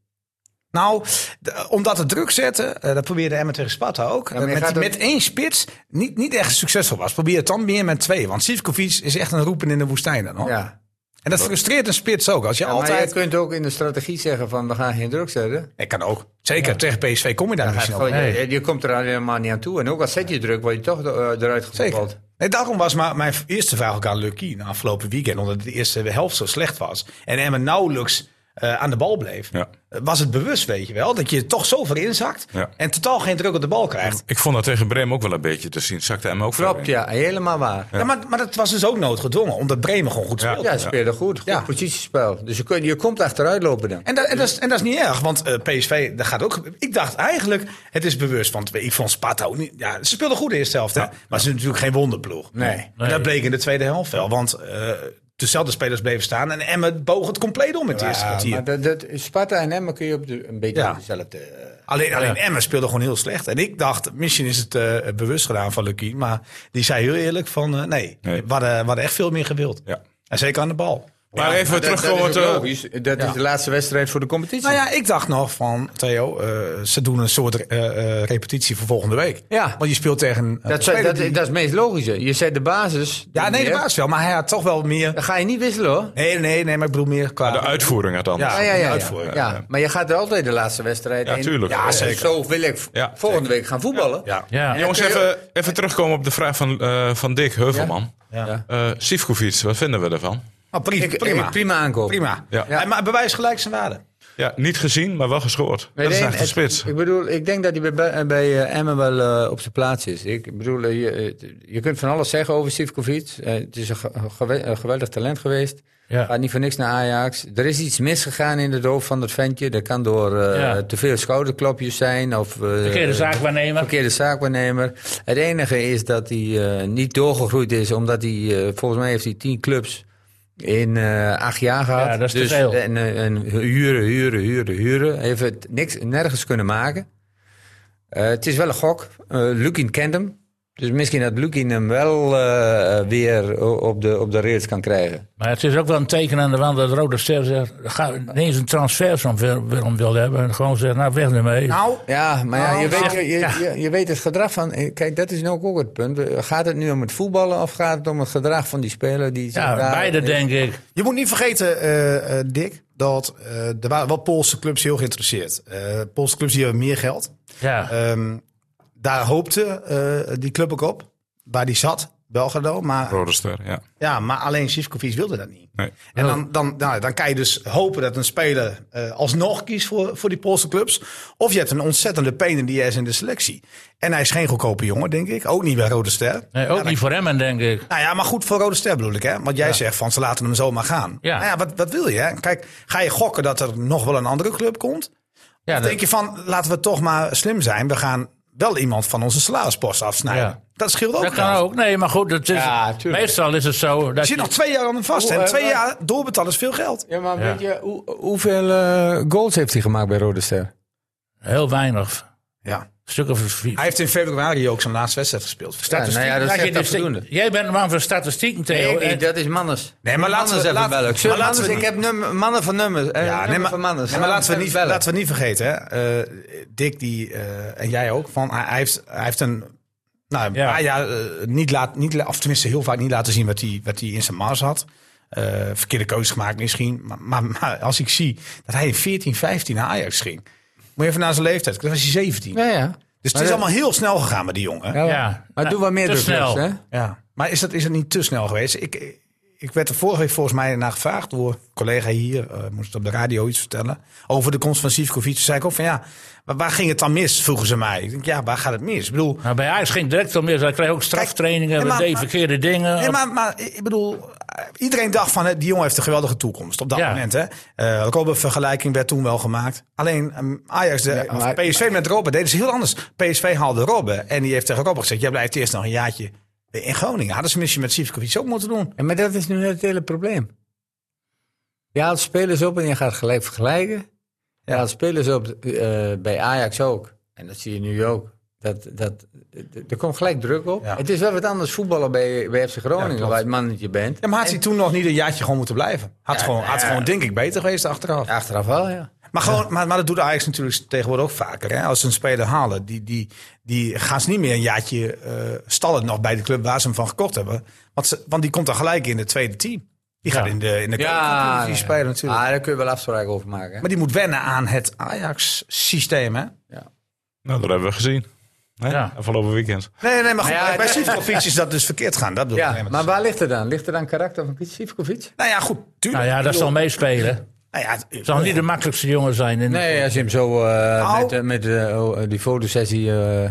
S4: Nou, d- omdat het druk zetten, eh, dat probeerde Emmen tegen Sparta ook.
S5: maar je
S4: met,
S5: gaat ook-
S4: met één spits niet, niet echt succesvol was. Probeer het dan meer met twee. Want Sivkovic is echt een roepen in de woestijn. Dan, hoor.
S5: Ja.
S4: En dat frustreert een spits ook. Als je
S5: Ja, Maar
S4: altijd...
S5: je kunt ook in de strategie zeggen van we gaan geen druk zetten.
S4: Ik kan ook. Zeker, tegen PSV kom je daar niet
S5: Gaat
S4: snel.
S5: gewoon-
S2: Nee.
S5: je, je komt er helemaal niet aan toe. En ook al zet je druk, word je toch eh, eruit gevoeld.
S4: Zeker. Nee, daarom was maar mijn eerste vraag ook aan Lucky na afgelopen weekend. Omdat de eerste helft zo slecht was. En Emmen nauwelijks eh, aan de bal bleef.
S1: Ja.
S4: Eh, Was het bewust, weet je wel, dat je toch zoveel inzakt.
S1: Ja.
S4: En totaal geen druk op de bal krijgt.
S1: Ik vond dat tegen Bremen ook wel een beetje te zien. Zakte hem ook
S5: Klopt,
S1: ja.
S5: ja. Helemaal waar.
S4: Ja. maar, maar dat was dus ook noodgedwongen. Omdat Bremen gewoon goed
S1: Ja.
S4: speelde.
S5: Ja, ze speelden goed. Goed
S4: Ja.
S5: positiespel. Dus je, kun, je komt achteruit lopen dan.
S4: En dat, en, dat is, en dat is niet erg, want eh, PSV, dat gaat ook. Ik dacht eigenlijk, het is bewust, want ik vond Sparta ook niet. Ja, ze speelden goed de eerste helft, hè? maar ze zijn natuurlijk geen wonderploeg.
S5: Nee.
S4: En dat bleek in de tweede helft wel, want eh, dezelfde spelers bleven staan en Emmen boog het compleet om in het eerste
S5: Ja,
S4: kwartier.
S5: maar dat, dat, Sparta en Emmen kun je op de, een beetje
S4: Ja.
S5: op dezelfde... eh,
S4: Alleen, alleen Emmen speelde gewoon heel slecht. En ik dacht, misschien is het eh, bewust gedaan van Lucky, maar die zei heel eerlijk van eh, nee,
S1: Nee.
S4: We, hadden, we hadden echt veel meer gewild.
S1: Ja.
S4: En zeker aan de bal.
S1: Maar even
S5: dat-
S1: terugkomen
S5: Dat, is, ook
S1: te...
S5: logisch. dat is de laatste wedstrijd voor de competitie.
S4: Nou ja, ik dacht nog van Theo, eh, ze doen een soort eh, eh, repetitie voor volgende week.
S5: Ja.
S4: Want je speelt tegen. een
S5: dat, zou-
S4: speler
S5: dat,
S4: die-
S5: dat is het meest logische. Je zet de basis.
S4: ja, nee,
S5: neer.
S4: dat was wel. Maar hij had toch wel meer.
S5: Dan ga je niet wisselen hoor.
S4: Nee, nee, nee, maar ik bedoel meer qua.
S1: De uitvoering had anders.
S4: Ja.
S5: Ah, ja, ja, ja.
S4: uitvoering,
S5: ja, maar je gaat er altijd de laatste wedstrijd
S1: Ja,
S5: in.
S1: tuurlijk.
S5: Ja,
S1: Ja,
S5: zeker. Zo wil ik v-
S1: Ja,
S5: volgende week gaan voetballen.
S4: ja.
S2: Ja.
S1: Jongens,
S5: kun je-
S1: even, even terugkomen op de vraag van, eh, van Dick Heuvelman.
S4: Ja.
S1: Ja. Eh, Sivkovic, wat vinden we ervan?
S4: Maar Oh, prima,
S5: Ik-
S4: prima.
S5: ik-
S4: prima.
S5: prima aankoop.
S1: Ja.
S4: Ja. Maar bewijs gelijk zijn waarde.
S1: Ja, niet gezien, maar wel gescoord.
S5: Nee,
S1: dat is
S5: nee,
S1: echt een
S5: het-
S1: spits.
S5: Ik bedoel, ik denk dat hij bij, bij- bij eh, Emmen wel eh, op zijn plaats is. Ik bedoel, eh, je, eh, je kunt van alles zeggen over Sivkovic. Eh, het is een ge- een gewe- een geweldig talent geweest.
S2: Ja.
S5: Gaat niet voor niks naar Ajax. Er is iets misgegaan in de doof van dat ventje. Dat kan door eh,
S2: Ja.
S5: te veel schouderklopjes zijn. Of, eh,
S2: Verkeerde zaak waarnemen.
S5: verkeerde zaakwaarnemer. Het enige is dat hij eh, niet doorgegroeid is, omdat hij, eh, volgens mij heeft hij tien clubs in eh, acht jaar gehad.
S2: Ja, dat is te
S5: dus,
S2: veel.
S5: En, eh, en huren, huren, huren, huren. Hij heeft het niks, nergens kunnen maken. Eh, het is wel een gok. Eh Lukin kent hem. Dus misschien dat Lukin hem wel eh, weer o- op de, op de rails kan krijgen.
S2: Maar het is ook wel een teken aan de wand dat Rode Ster zegt... ga niet eens een transfer van Wil- Willem wil hebben. En gewoon zegt, nou weg ermee.
S4: Nou,
S5: Ja, maar ja,
S4: Nou,
S5: je,
S4: nou,
S5: weet, je, je, je- je weet het gedrag van. eh, Kijk, dat is nu ook, ook het punt. Eh, Gaat het nu om het voetballen of gaat het om het gedrag van die speler? Die
S2: ja,
S5: zich daar-
S2: beide
S5: eh,
S2: denk ik.
S6: Je moet niet vergeten, eh, eh, Dick, dat eh, er waren wel Poolse clubs heel geïnteresseerd. Eh, Poolse clubs die hebben meer geld.
S2: Ja.
S5: eh,
S6: Ehm, daar hoopte eh, die club ook op, waar die zat, Belgrado. Maar,
S1: Rode ster, ja.
S6: ja, maar alleen Sivkovic wilde dat niet.
S1: Nee.
S6: En dan, dan, nou, dan kan je dus hopen dat een speler eh, alsnog kiest voor, voor die Poolse clubs. Of je hebt een ontzettende penen die is in de selectie. En hij is geen goedkope jongen, denk ik. Ook niet bij Rode Ster.
S2: Nee, ook niet voor Emmen, denk ik.
S6: Nou ja, maar goed voor Rode Ster bedoel ik, hè? Want jij zegt van ze laten hem zomaar gaan.
S2: Ja.
S6: Nou ja, wat, wat wil je? Hè? Kijk, ga je gokken dat er nog wel een andere club komt?
S2: Ja,
S6: Of denk je van laten we toch maar slim zijn? We gaan wel iemand van onze salarispost afsnijden.
S2: Ja.
S6: Dat scheelt ook.
S2: dat kan
S6: geld.
S2: ook. Nee, maar goed, het is,
S5: Ja, tuurlijk.
S2: meestal is het zo...
S6: Er
S2: Dat
S6: zit
S2: je-
S6: nog twee jaar aan hem vast.
S5: Hoe,
S6: En
S5: eh,
S6: twee
S5: wat-
S6: jaar doorbetalen is veel geld.
S5: Ja, maar
S2: Ja.
S5: weet je, hoe- hoeveel eh, goals heeft hij gemaakt bij Rode Ster?
S2: heel weinig.
S6: Ja.
S2: Stuk of vier.
S4: Hij heeft in februari ook zijn laatste wedstrijd gespeeld.
S5: Ja, nou ja, dat
S2: Laat
S5: is
S2: je
S5: echt
S2: de sta-
S5: afdoende.
S2: Jij bent een man van statistieken, Theo.
S5: Nee,
S2: En-
S5: nee, dat is Mannes.
S6: Nee, maar laten we, laten,
S5: wel. Ik,
S6: maar laten we
S5: ik heb nummer, mannen van nummers. eh,
S6: Ja, nee,
S5: nummer
S6: maar,
S5: van Mannes.
S6: nee, maar laten, we
S5: Mannen
S6: niet,
S5: van
S6: laten we niet vergeten, hè. eh, Dick die, eh, en jij ook, van, hij, hij heeft, hij heeft een nou, een
S2: Ja.
S6: paar jaar eh, niet laat, niet, la- of tenminste heel vaak niet laten zien wat hij, wat hij in zijn mars had. Eh, verkeerde keuze gemaakt misschien. Maar, maar, maar als ik zie dat hij in 14, 15 naar Ajax ging. Moet je even naar zijn leeftijd. Dan was hij 17.
S5: Ja, ja.
S6: Dus het
S5: Maar eh,
S6: is
S5: dat-
S6: allemaal heel snel gegaan met die jongen.
S5: ja.
S2: Ja.
S5: Maar
S2: Nou,
S5: doe wat meer
S2: te
S5: druk,
S2: snel.
S5: hè?
S6: Ja. Maar is, dat, is het niet te snel geweest? Ik,
S4: ik werd er vorige week volgens mij naar gevraagd door een collega hier. eh moest op de radio iets vertellen. Over de komst van Sivkovic. Toen zei ik ook van ja, maar waar ging het dan mis? Vroegen ze mij. Ik denk ja, waar gaat het mis? Ik bedoel,
S2: Nou, bij Ajax ging het direct om meer. Hij kreeg ook straftrainingen.
S4: Kijk,
S2: we
S4: maar-
S2: deden
S4: maar-
S2: verkeerde dingen.
S4: Nee, maar, maar ik bedoel, eh, iedereen dacht van, hè, die jongen heeft een geweldige toekomst op dat
S2: Ja.
S4: moment. Hè? Eh Robben-vergelijking werd toen wel gemaakt. Alleen ehm, Ajax, de, of
S5: maar-
S4: PSV met Robben deden ze heel anders. PSV haalde Robben en die heeft tegen Robben gezegd, jij blijft eerst nog een jaartje in Groningen. Hadden ze misschien met Sivkovic ook moeten doen.
S5: En maar dat is nu net het hele probleem. Je haalt spelers op en je gaat gelijk vergelijken. Je haalt spelers op eh, bij Ajax ook. En dat zie je nu ook. Dat, dat, d- er komt gelijk druk op.
S4: Ja.
S5: Het is wel wat anders voetballen bij, bij FC Groningen,
S4: klopt.
S5: waar je het mannetje bent.
S4: Ja, maar had hij toen nog niet een jaartje gewoon moeten blijven? Had,
S5: Ja,
S4: gewoon,
S5: nou
S4: had
S5: ja.
S4: gewoon, denk ik, beter geweest achteraf.
S5: Achteraf wel, ja.
S4: Maar, gewoon, maar, maar dat doet Ajax natuurlijk tegenwoordig ook vaker. Hè? Als ze een speler halen, die, die, die gaan ze niet meer een jaartje eh, stallen nog bij de club waar ze hem van gekocht hebben. Want, ze, want die komt dan gelijk in het tweede team. Die gaat in de, in de
S5: Ja,
S4: die spelen natuurlijk.
S5: Ah, daar kun je wel afspraken over maken. hè.
S4: Maar die moet wennen aan het Ajax-systeem, hè?
S1: Nou, dat hebben we gezien. Hè?
S2: Ja.
S1: Afgelopen weekend.
S4: Nee, nee, maar goed,
S5: Maar ja,
S4: bij- bij
S5: het-
S4: Sivkovic is dat dus verkeerd gaan. Dat bedoel ik.
S5: ja,
S4: Nee,
S5: maar
S4: dat is-
S5: waar ligt het aan? Ligt het aan karakter van Sivkovic?
S4: Nou ja, goed, tuurlijk.
S2: Nou ja, dat zal meespelen.
S4: Nou ja,
S2: Het zal niet de makkelijkste jongen zijn. In
S5: Nee, als je hem zo eh,
S4: Au.
S5: met, eh, met eh, oh, eh, die fotosessie... eh,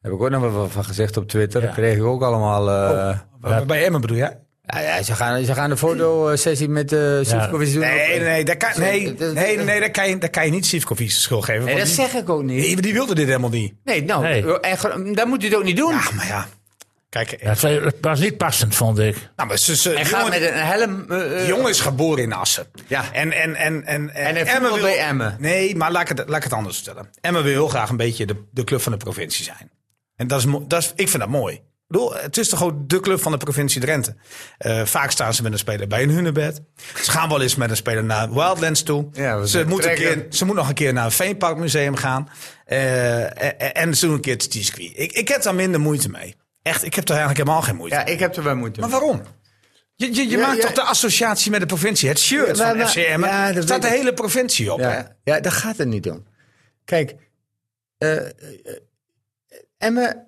S5: heb ik ook nog wat van gezegd op Twitter.
S2: Ja.
S5: Dat kreeg ik ook allemaal... eh,
S4: Bij- Bij Emmen bedoel je?
S5: Ja, ja, ze, gaan, ze gaan de fotosessie met eh Sivkovic doen.
S4: Nee,
S5: Ook-
S4: nee, daar kan, nee,
S5: dat- dat-
S4: nee, nee, daar kan, je, daar kan je niet Sivkovic de schuld geven.
S5: Nee,
S4: want
S5: dat
S4: die-
S5: zeg ik ook niet.
S4: die, die wilde dit helemaal niet.
S5: Nee, nou,
S2: Nee.
S5: en gro- dan moet hij het ook niet doen.
S4: Ja, maar ja. Kijk,
S2: Ja, het was niet passend, vond ik.
S4: Nou, maar ze, ze,
S5: Hij
S4: die
S5: gaat
S4: jongen,
S5: met een helm... eh, eh,
S4: die jongen is geboren in Assen.
S5: Ja.
S4: En, en, en, en,
S5: En hij voetbalt bij Emmen.
S4: Nee, maar laat ik, het, laat ik het anders vertellen. Emmen wil heel graag een beetje de, de club van de provincie zijn. En dat is, mo- dat is, ik vind dat mooi. Ik bedoel, het is toch ook de club van de provincie Drenthe. Eh, vaak staan ze met een speler bij een hunebed. Ze gaan wel eens met een speler naar Wildlands toe.
S5: Ja, we
S4: ze, moet een
S5: trekken.
S4: keer, ze moet nog een keer naar een Veenparkmuseum gaan. Eh, en, en- en ze doen een keer het circuit. Ik, ik heb daar minder moeite mee. Echt, ik heb daar eigenlijk helemaal geen moeite
S5: ja, ik heb er wel moeite
S4: maar
S5: mee.
S4: waarom? Je, je, je
S5: Ja,
S4: maakt
S5: ja.
S4: toch de associatie met de provincie? Het shirt
S5: Ja, maar-
S4: van
S5: maar-
S4: FCM.
S5: ja, dat
S4: staat de
S5: weet ik.
S4: hele provincie op. hè?
S5: Ja, ja, daar gaat het niet om. Kijk, eh eh, Emme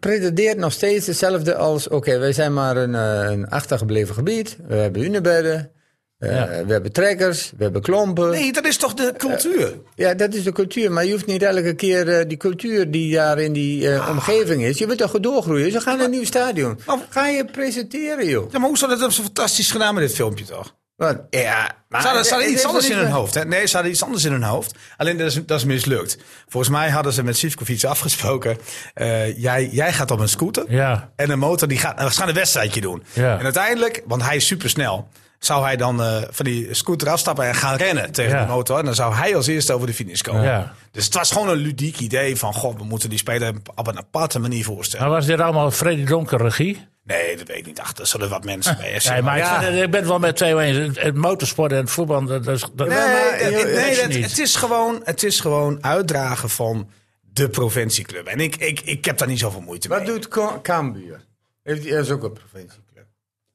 S5: pretendeert nog steeds hetzelfde als... Oké, wij zijn maar een, eh, een achtergebleven gebied. We hebben hunebedden. eh,
S2: Ja.
S5: We hebben trekkers. We hebben klompen.
S4: Nee, dat is toch de cultuur?
S5: Ja, dat is de cultuur. Maar je hoeft niet elke keer eh, die cultuur die daar in die eh, omgeving is. Je wilt toch goed doorgroeien. Ze gaan naar een nieuw stadion.
S4: Maar-
S5: Ga je presenteren, joh.
S4: Ja, maar hoezo dat hebben ze fantastisch gedaan met dit filmpje toch?
S5: Want, ja, maar,
S4: Ze hadden, ze hadden
S5: het
S4: iets
S5: heeft
S4: anders
S5: er
S4: in
S5: niks
S4: hun
S5: mee-
S4: hoofd. Hè? Nee, ze hadden iets anders in hun hoofd. Alleen dat is, dat is mislukt. Volgens mij hadden ze met Sivkovic afgesproken. eh, jij, jij gaat op een scooter.
S2: Ja.
S4: En een motor die gaat, eh, ze gaan een wedstrijdje doen.
S2: Ja.
S4: En uiteindelijk, want hij is supersnel. Zou hij dan eh, van die scooter afstappen en gaan rennen tegen
S2: Ja.
S4: de motor. En dan zou hij als eerste over de finish komen.
S2: Ja.
S4: Dus het was gewoon een ludiek idee van... God, we moeten die speler op een aparte manier voorstellen.
S2: Maar was dit allemaal Freddy Donker regie?
S4: Nee, dat weet ik niet. Ach, er zullen wat mensen bij FC.
S2: Nee, maar ik,
S5: ja.
S2: vind het- ik ben het wel met twee eens. Het- Het motorsport en het voetbal, dat, dat is... Dat,
S4: Nee,
S5: maar-
S4: eh,
S5: je-
S4: nee,
S2: je-
S4: dat-
S2: niet.
S4: het, is gewoon, het is gewoon uitdragen van de provincieclub. En ik, ik, ik heb daar niet zoveel moeite
S5: Wat
S4: mee.
S5: doet Ka- Cambuur? Heeft die is ook een provincieclub.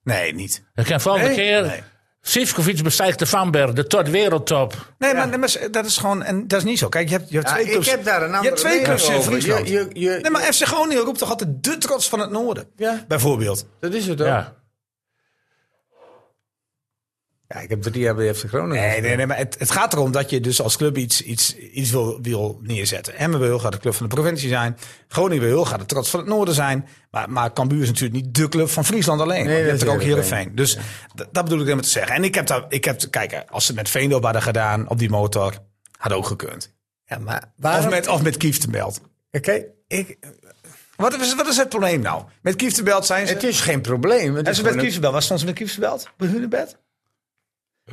S4: Nee, niet.
S2: Ik ken volgende
S4: Nee,
S2: keer...
S4: nee.
S2: Sivkovic bestijgt de Vanberg, de tot wereldtop.
S4: Nee, maar- nee, maar dat is gewoon... En dat is niet zo. Kijk, je hebt, je hebt
S5: Ja,
S4: twee
S5: ik
S4: clubs...
S5: heb daar een
S4: je
S5: andere
S4: hebt twee
S5: mening
S4: clubs in
S5: over.
S4: Friesland.
S5: Je- je- je-
S4: nee, maar FC Groningen roept toch altijd de trots van het noorden?
S5: Ja.
S4: Bijvoorbeeld.
S5: Dat is het ook. Ja.
S2: Ja.
S5: ik heb drie jaar bij FC Groningen.
S4: Nee,
S5: gespeeld.
S4: nee, nee, maar het, het gaat erom dat je dus als club iets, iets, iets wil, wil neerzetten. Emmen wil heel graag de club van de provincie zijn. Groningen wil heel graag de trots van het noorden zijn. Maar, maar Cambuur is natuurlijk niet de club van Friesland alleen.
S5: Nee,
S4: je
S5: dat
S4: hebt er ook
S5: is Heerenveen.
S4: Heerenveen. Dus d- dat bedoel ik helemaal te zeggen. En ik heb daar, ik heb, kijk, als ze het met Veendorp hadden gedaan op die motor, had ook gekund.
S5: Ja, maar
S4: Of
S5: waarom...
S4: met, of met Kieftenbelt.
S5: Kijk, ik,
S4: Wat is, wat is het probleem nou? Met Kieftenbelt zijn ze...
S5: het is geen probleem. Het
S4: en ze
S5: is
S4: met
S5: gewoon een-
S4: Kieftenbelt, waar stond ze met Kieftenbelt? Bij Hunebed?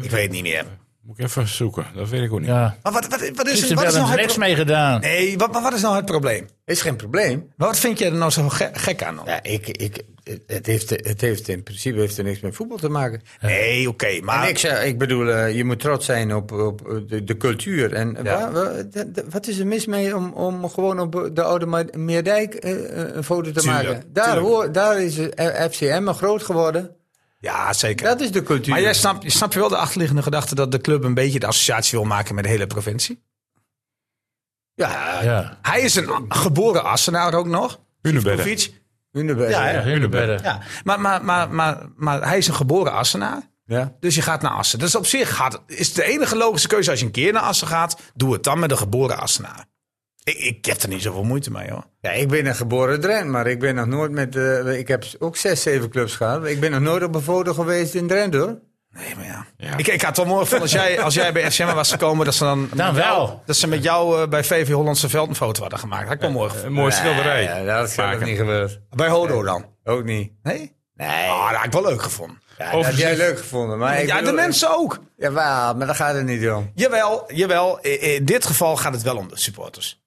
S4: Ik weet het niet meer.
S1: Moet ik even zoeken. Dat weet ik ook niet.
S2: ja.
S4: Maar wat, wat, wat, is,
S2: Ze
S4: Dus wat is
S2: hebben
S4: nou
S2: er
S4: het
S2: niks mee gedaan.
S4: Nee, wat, maar wat is nou het probleem?
S5: is geen probleem.
S4: Maar wat vind jij er nou zo ge- gek aan? dan?
S5: Ja, ik, ik, het, heeft, het heeft in principe heeft er niks met voetbal te maken.
S4: Nee, oké, maar...
S5: En ik, zeg, ik bedoel, eh, je moet trots zijn op, op eh, de, de cultuur. En waar- waar- de- de- wat is er mis mee om, om gewoon op de Oude Ma- Meerdijk eh, eh, een foto te
S4: Tuurlijk,
S5: maken? Daar,
S4: tuurlijk.
S5: hoor, daar is eh, FCM groot geworden.
S4: ja, zeker.
S5: Dat is de cultuur.
S4: maar jij snapt je snapt wel de achterliggende gedachte dat de club een beetje de associatie wil maken met de hele provincie?
S5: ja,
S2: Ja.
S4: Hij is een a- geboren Assenaar ook nog.
S1: Hunebedden.
S4: Fiets.
S5: Hunebedden.
S4: Ja,
S5: Ja,
S4: ja.
S2: Hunebedden.
S4: Ja, maar, maar, maar, maar, maar hij is een geboren Assenaar.
S5: ja.
S4: Dus je gaat naar Assen. Dus op zich gaat, is de enige logische keuze als je een keer naar Assen gaat. Doe het dan met een geboren Assenaar. Ik, ik heb er niet zoveel moeite mee hoor.
S5: ik ben een geboren Drent, maar ik ben nog nooit met... eh, ik heb ook zes, zeven clubs gehad. Ik ben nog nooit op een foto geweest in Drenthe, hoor.
S4: Nee, maar ja. Ik, ik had het wel mooi van als jij, als jij bij FCM was gekomen. Dat ze dan,
S2: Dan wel.
S4: dat ze met jou eh, bij VV Hollandse Veld een foto hadden gemaakt. Dat had ik
S2: Eh,
S4: wel mooi gevonden.
S1: Een mooie schilderij.
S5: Ja, dat is zelf
S1: Maken.
S5: niet gebeurd.
S4: Bij Hodo dan?
S5: Ook niet.
S4: Nee?
S5: Nee.
S4: Ah, dat had ik wel leuk gevonden. eh,
S5: Ja, dat heb
S1: Overigens-
S5: jij leuk gevonden. Maar ik
S4: ja, de
S5: bedoel-
S4: mensen ook.
S5: Jawel, maar daar gaat het niet om.
S4: Jawel, jawel. I- In dit geval gaat het wel om de supporters.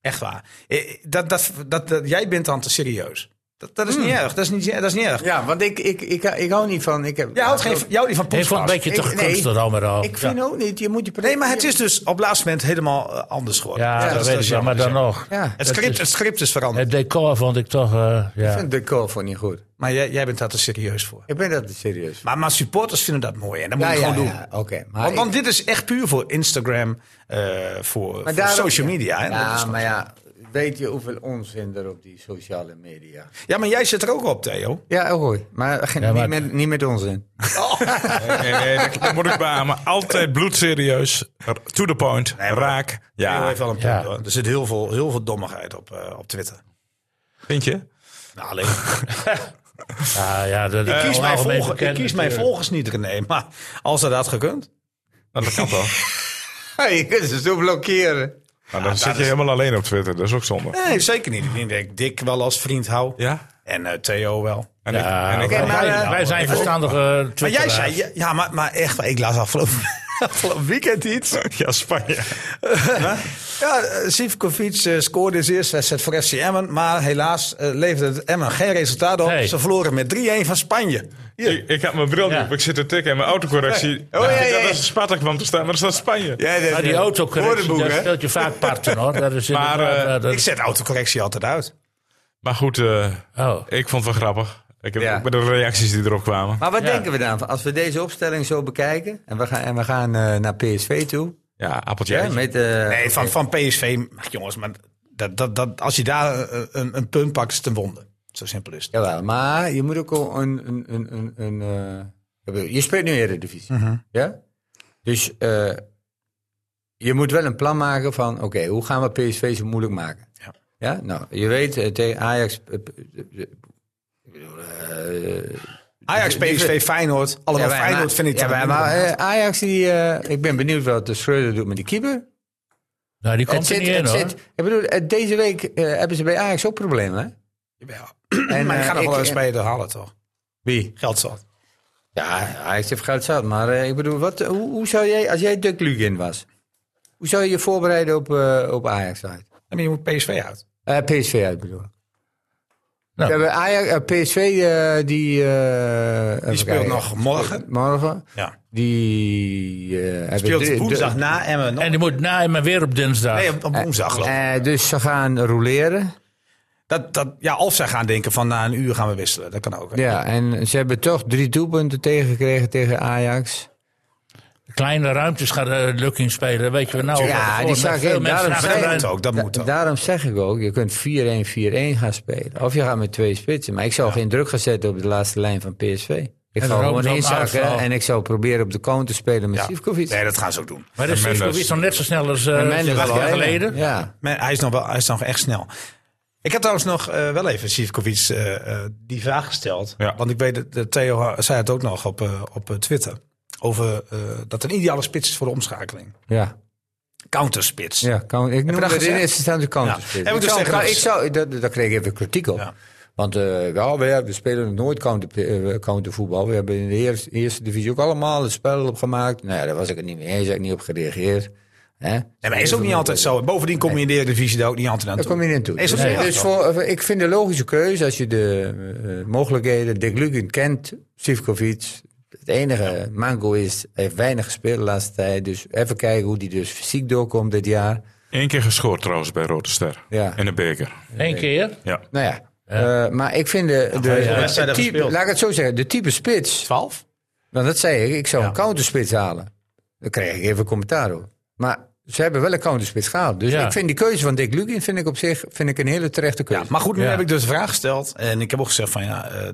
S4: Echt waar. I- Dat, dat, dat, dat- jij bent dan te serieus. Dat, dat is
S2: Hmm.
S4: niet erg. Dat is niet, dat is niet erg.
S5: Ja, want ik, ik, ik, ik hou niet van... Ik heb,
S4: Jij houdt geen, jou die van
S2: Ik vond het een
S4: podcast.
S2: beetje
S5: Ik-
S2: te
S5: nee.
S2: gekunsteld allemaal.
S5: Ik vind ook niet, je moet je...
S4: Nee, maar het is dus op laatste moment helemaal eh, anders geworden.
S2: Ja, dat,
S4: is-
S2: weet
S4: is
S2: ik wel, maar
S4: jammer.
S2: dan nog.
S5: Ja,
S4: Het
S2: dat
S4: script,
S2: is-
S4: het script is veranderd.
S2: Het decor vond ik toch... eh,
S5: ik
S2: ja.
S5: vind het decor voor niet goed.
S4: Maar jij, jij bent daar te serieus voor.
S5: Ik ben dat serieus. Nou
S4: Maar, maar supporters vinden dat mooi en dat moet je gewoon doen.
S5: ja, Oké, maar,
S4: Want,
S5: ik-
S4: want dit is echt puur voor Instagram, eh, voor, voor
S5: daarom-
S4: social media. hè. Dat is
S5: Ja,
S4: gewoon-
S5: maar ja, weet je hoeveel onzin er op die sociale media...
S4: ja, maar jij zit er ook op, Theo.
S5: Ja, oh, hoor. Maar, geen,
S2: Ja, maar-
S5: Niet, met, niet met onzin.
S1: Nee, nee, dat- dat moet ik beamen. Altijd bloedserieus. To the point. Raak.
S4: Theo
S1: Ja,
S4: heeft wel een
S2: Ja.
S4: punt, hoor. Er zit heel veel, heel veel dommigheid op, eh, op Twitter.
S1: vind je?
S4: Nou, alleen.
S2: Ja, ja, dat,
S4: Ik kies,
S2: eh,
S4: mijn,
S2: algemeen
S4: volgen, ik
S2: bekend
S4: kies mijn
S2: natuurlijk.
S4: volgers niet, René. Maar als dat had gekund.
S1: Nou, dat kan wel.
S5: je kunt ze zo blokkeren.
S1: Maar Nou, dan zit je helemaal alleen op Twitter. Dat is ook zonde.
S4: Nee, zeker niet. Ik denk Dick wel als vriend hou.
S1: Ja?
S4: Hmm. En eh, Theo wel.
S1: En ik,
S2: Ja,
S1: en ik,
S2: wij,
S5: maar, eh,
S2: wij- wij zijn verstandige
S4: Maar jij zei, ja, ja, maar, maar echt, waar, ik las afgelopen, afgelopen weekend iets.
S1: ja, Spanje.
S4: Ja, eh, Sivkovic eh, scoorde in zijn eerste wedstrijd voor FC Emmen. Maar helaas eh, leverde het Emmen geen resultaat op.
S2: Nee.
S4: Ze verloren met 3-1 van Spanje.
S1: Ik, ik had mijn bril niet
S2: Ja.
S1: op. Ik zit te tikken en mijn autocorrectie.
S5: Oh, ja, ja, ja.
S1: Dat is Sparta kwam te staan, maar dat staat Spanje.
S5: Ja, dat,
S4: eh,
S2: Maar die autocorrectie,
S5: Woordenboek,
S2: daar
S5: hè?
S2: dus speelt je vaak parten hoor. Dat is
S1: Maar,
S2: inderdaad,
S1: eh,
S2: eh, dat-
S4: Ik zet autocorrectie altijd uit.
S1: Maar goed, eh,
S2: oh.
S1: ik vond het wel grappig. Ik heb
S5: Ja.
S1: ook bij de reacties die erop kwamen.
S5: Maar wat
S2: Ja.
S5: denken we dan? van? Als we deze opstelling zo bekijken en we gaan, en we gaan eh, naar PSV toe.
S1: Ja, appeltje.
S5: Ja,
S1: eitje.
S5: met, eh,
S4: Nee, van, van PSV, ach, jongens, maar dat, dat, dat, als je daar eh, een, een punt pakt, is het een wonde. Zo simpel is het.
S5: Jawel, maar je moet ook wel een... een, een, een, een eh, ik bedoel, je speelt nu Eredivisie, ja? Dus eh, je moet wel een plan maken van... Oké, hoe gaan we PSV zo moeilijk maken? Ja. nou, je weet, eh, tegen Ajax... eh, p- eh,
S4: Ajax, PSV, Feyenoord. Allemaal
S5: ja, maar-
S4: Feyenoord vind ik
S5: ja,
S4: dan
S5: maar,
S4: minder.
S5: maar, eh, Ajax, die, eh, ik ben benieuwd wat de Schreuder doet met die keeper.
S2: Nou, die komt er niet in
S5: het
S2: hoor.
S5: Oh, zit- ik bedoel, eh, deze week eh, hebben ze bij Ajax ook problemen, hè?
S4: Jawel.
S5: En,
S4: maar die
S5: eh,
S4: gaan nog
S5: ik-
S4: wel eens
S5: en-
S4: spelen halen, toch?
S5: Wie?
S4: Geldzat.
S5: Ja, Ajax heeft goud zat. Maar eh, ik bedoel, wat, hoe, hoe zou jij, als jij Dirk Lugin was, hoe zou je je voorbereiden op, eh, op Ajax uit?
S4: En je moet PSV uit.
S5: Eh, PSV uit bedoel ik.
S2: Nou.
S5: We hebben Ajax, eh, PSV eh, die... eh, even
S4: Die speelt
S5: kijken.
S4: nog morgen.
S5: Morgen.
S4: Ja.
S5: Die eh, hebben
S4: Speelt
S5: drie-
S4: woensdag
S5: drie-
S4: na Emmen. nog.
S2: En die moet na en weer op dinsdag.
S4: Nee, op, op woensdag geloof ik.
S5: Eh, dus ze gaan roleren.
S4: Dat, dat, ja, of zij gaan denken van na een uur gaan we wisselen. Dat kan ook. hè.
S5: Ja, en ze hebben toch drie doelpunten tegengekregen tegen Ajax.
S2: Kleine ruimtes gaat eh, Lukking spelen. Weet je wel, nou,
S5: Ja,
S2: van tevoren
S5: die
S2: met
S5: zag
S2: veel
S5: ik.
S2: mensen
S5: Daarom
S2: achter
S5: zei
S4: Dat
S5: ik
S2: elkaar.
S4: moet ook, dat
S5: Da-
S4: moet ook.
S5: daarom zeg ik ook, je kunt 4-1-4-1 gaan spelen. Of je gaat met twee spitsen. Maar ik zou geen druk gaan zetten op de laatste lijn van PSV. Ik
S2: En
S5: zou
S2: dan
S5: gewoon
S2: ook zo'n
S5: inzakken
S2: uitval.
S5: en ik zou proberen op de counter spelen met
S4: Ja.
S5: Sivkovic.
S4: Nee, dat gaan ze ook doen.
S2: Maar dat is
S1: Mendes.
S2: Sivkovic nog net zo snel als eh
S5: En Mendes
S2: acht jaar
S5: alleen.
S2: geleden.
S5: Ja.
S4: Maar hij is nog wel, hij is nog echt snel. Ik heb trouwens nog eh, wel even Sivkovic eh, eh, die vraag gesteld.
S1: Ja.
S4: Want ik weet, dat eh, Theo ha- zei het ook nog op, eh, op eh, Twitter. Over eh, dat een ideale spits is voor de omschakeling.
S5: Ja,
S4: Counterspits.
S5: ja kan, ik noem
S4: dat
S5: dat in eerste
S4: gezegd?
S5: instantie counter
S4: Ja.
S5: spelen.
S4: Heb ik
S5: Ik
S4: dus
S5: zou-
S4: tegen hem
S5: ik zou, dat- Daar kreeg ik even kritiek op.
S4: Ja.
S5: Want eh, ja, we, hebben- we spelen nooit counter, eh, countervoetbal. We hebben in de eerste, eerste divisie ook allemaal het spel opgemaakt. Nou ja, daar was ik het niet mee eens. Daar heb ik niet op gereageerd. Hè?
S4: Nee, maar is ook niet altijd zo. Bovendien kom je in de Eredivisie daar ook niet altijd aan
S5: Daar
S4: toe.
S5: kom je niet in toe.
S4: Is
S5: Dus,
S4: het zo?
S5: dus voor, ik vind de logische keuze, als je de eh, mogelijkheden, Dick Lugin kent, Sivkovic. Het enige mango is, hij heeft weinig gespeeld de laatste tijd. Dus even kijken hoe die dus fysiek doorkomt dit jaar.
S1: Eén keer gescoord trouwens bij Rode Ster.
S5: Ja.
S1: In de beker.
S2: Eén keer.
S1: Ja.
S5: Nou ja, eh, maar ik vind de, de,
S4: heeft wel
S5: het
S4: wedstrijden
S5: type-
S4: gespeeld.
S5: laat ik het zo zeggen, de type spits.
S4: 12?
S5: Want dat zei ik, ik zou een counterspits halen. Daar kreeg ik even commentaar op. Maar Ze hebben wel een counterspits gehaald. Dus
S2: Ja.
S5: ik vind die keuze van Dick Lugin vind ik op zich vind ik een hele terechte keuze.
S4: Ja, maar goed, nu
S2: Ja.
S4: heb ik dus de vraag gesteld. En ik heb ook gezegd van ja, eh,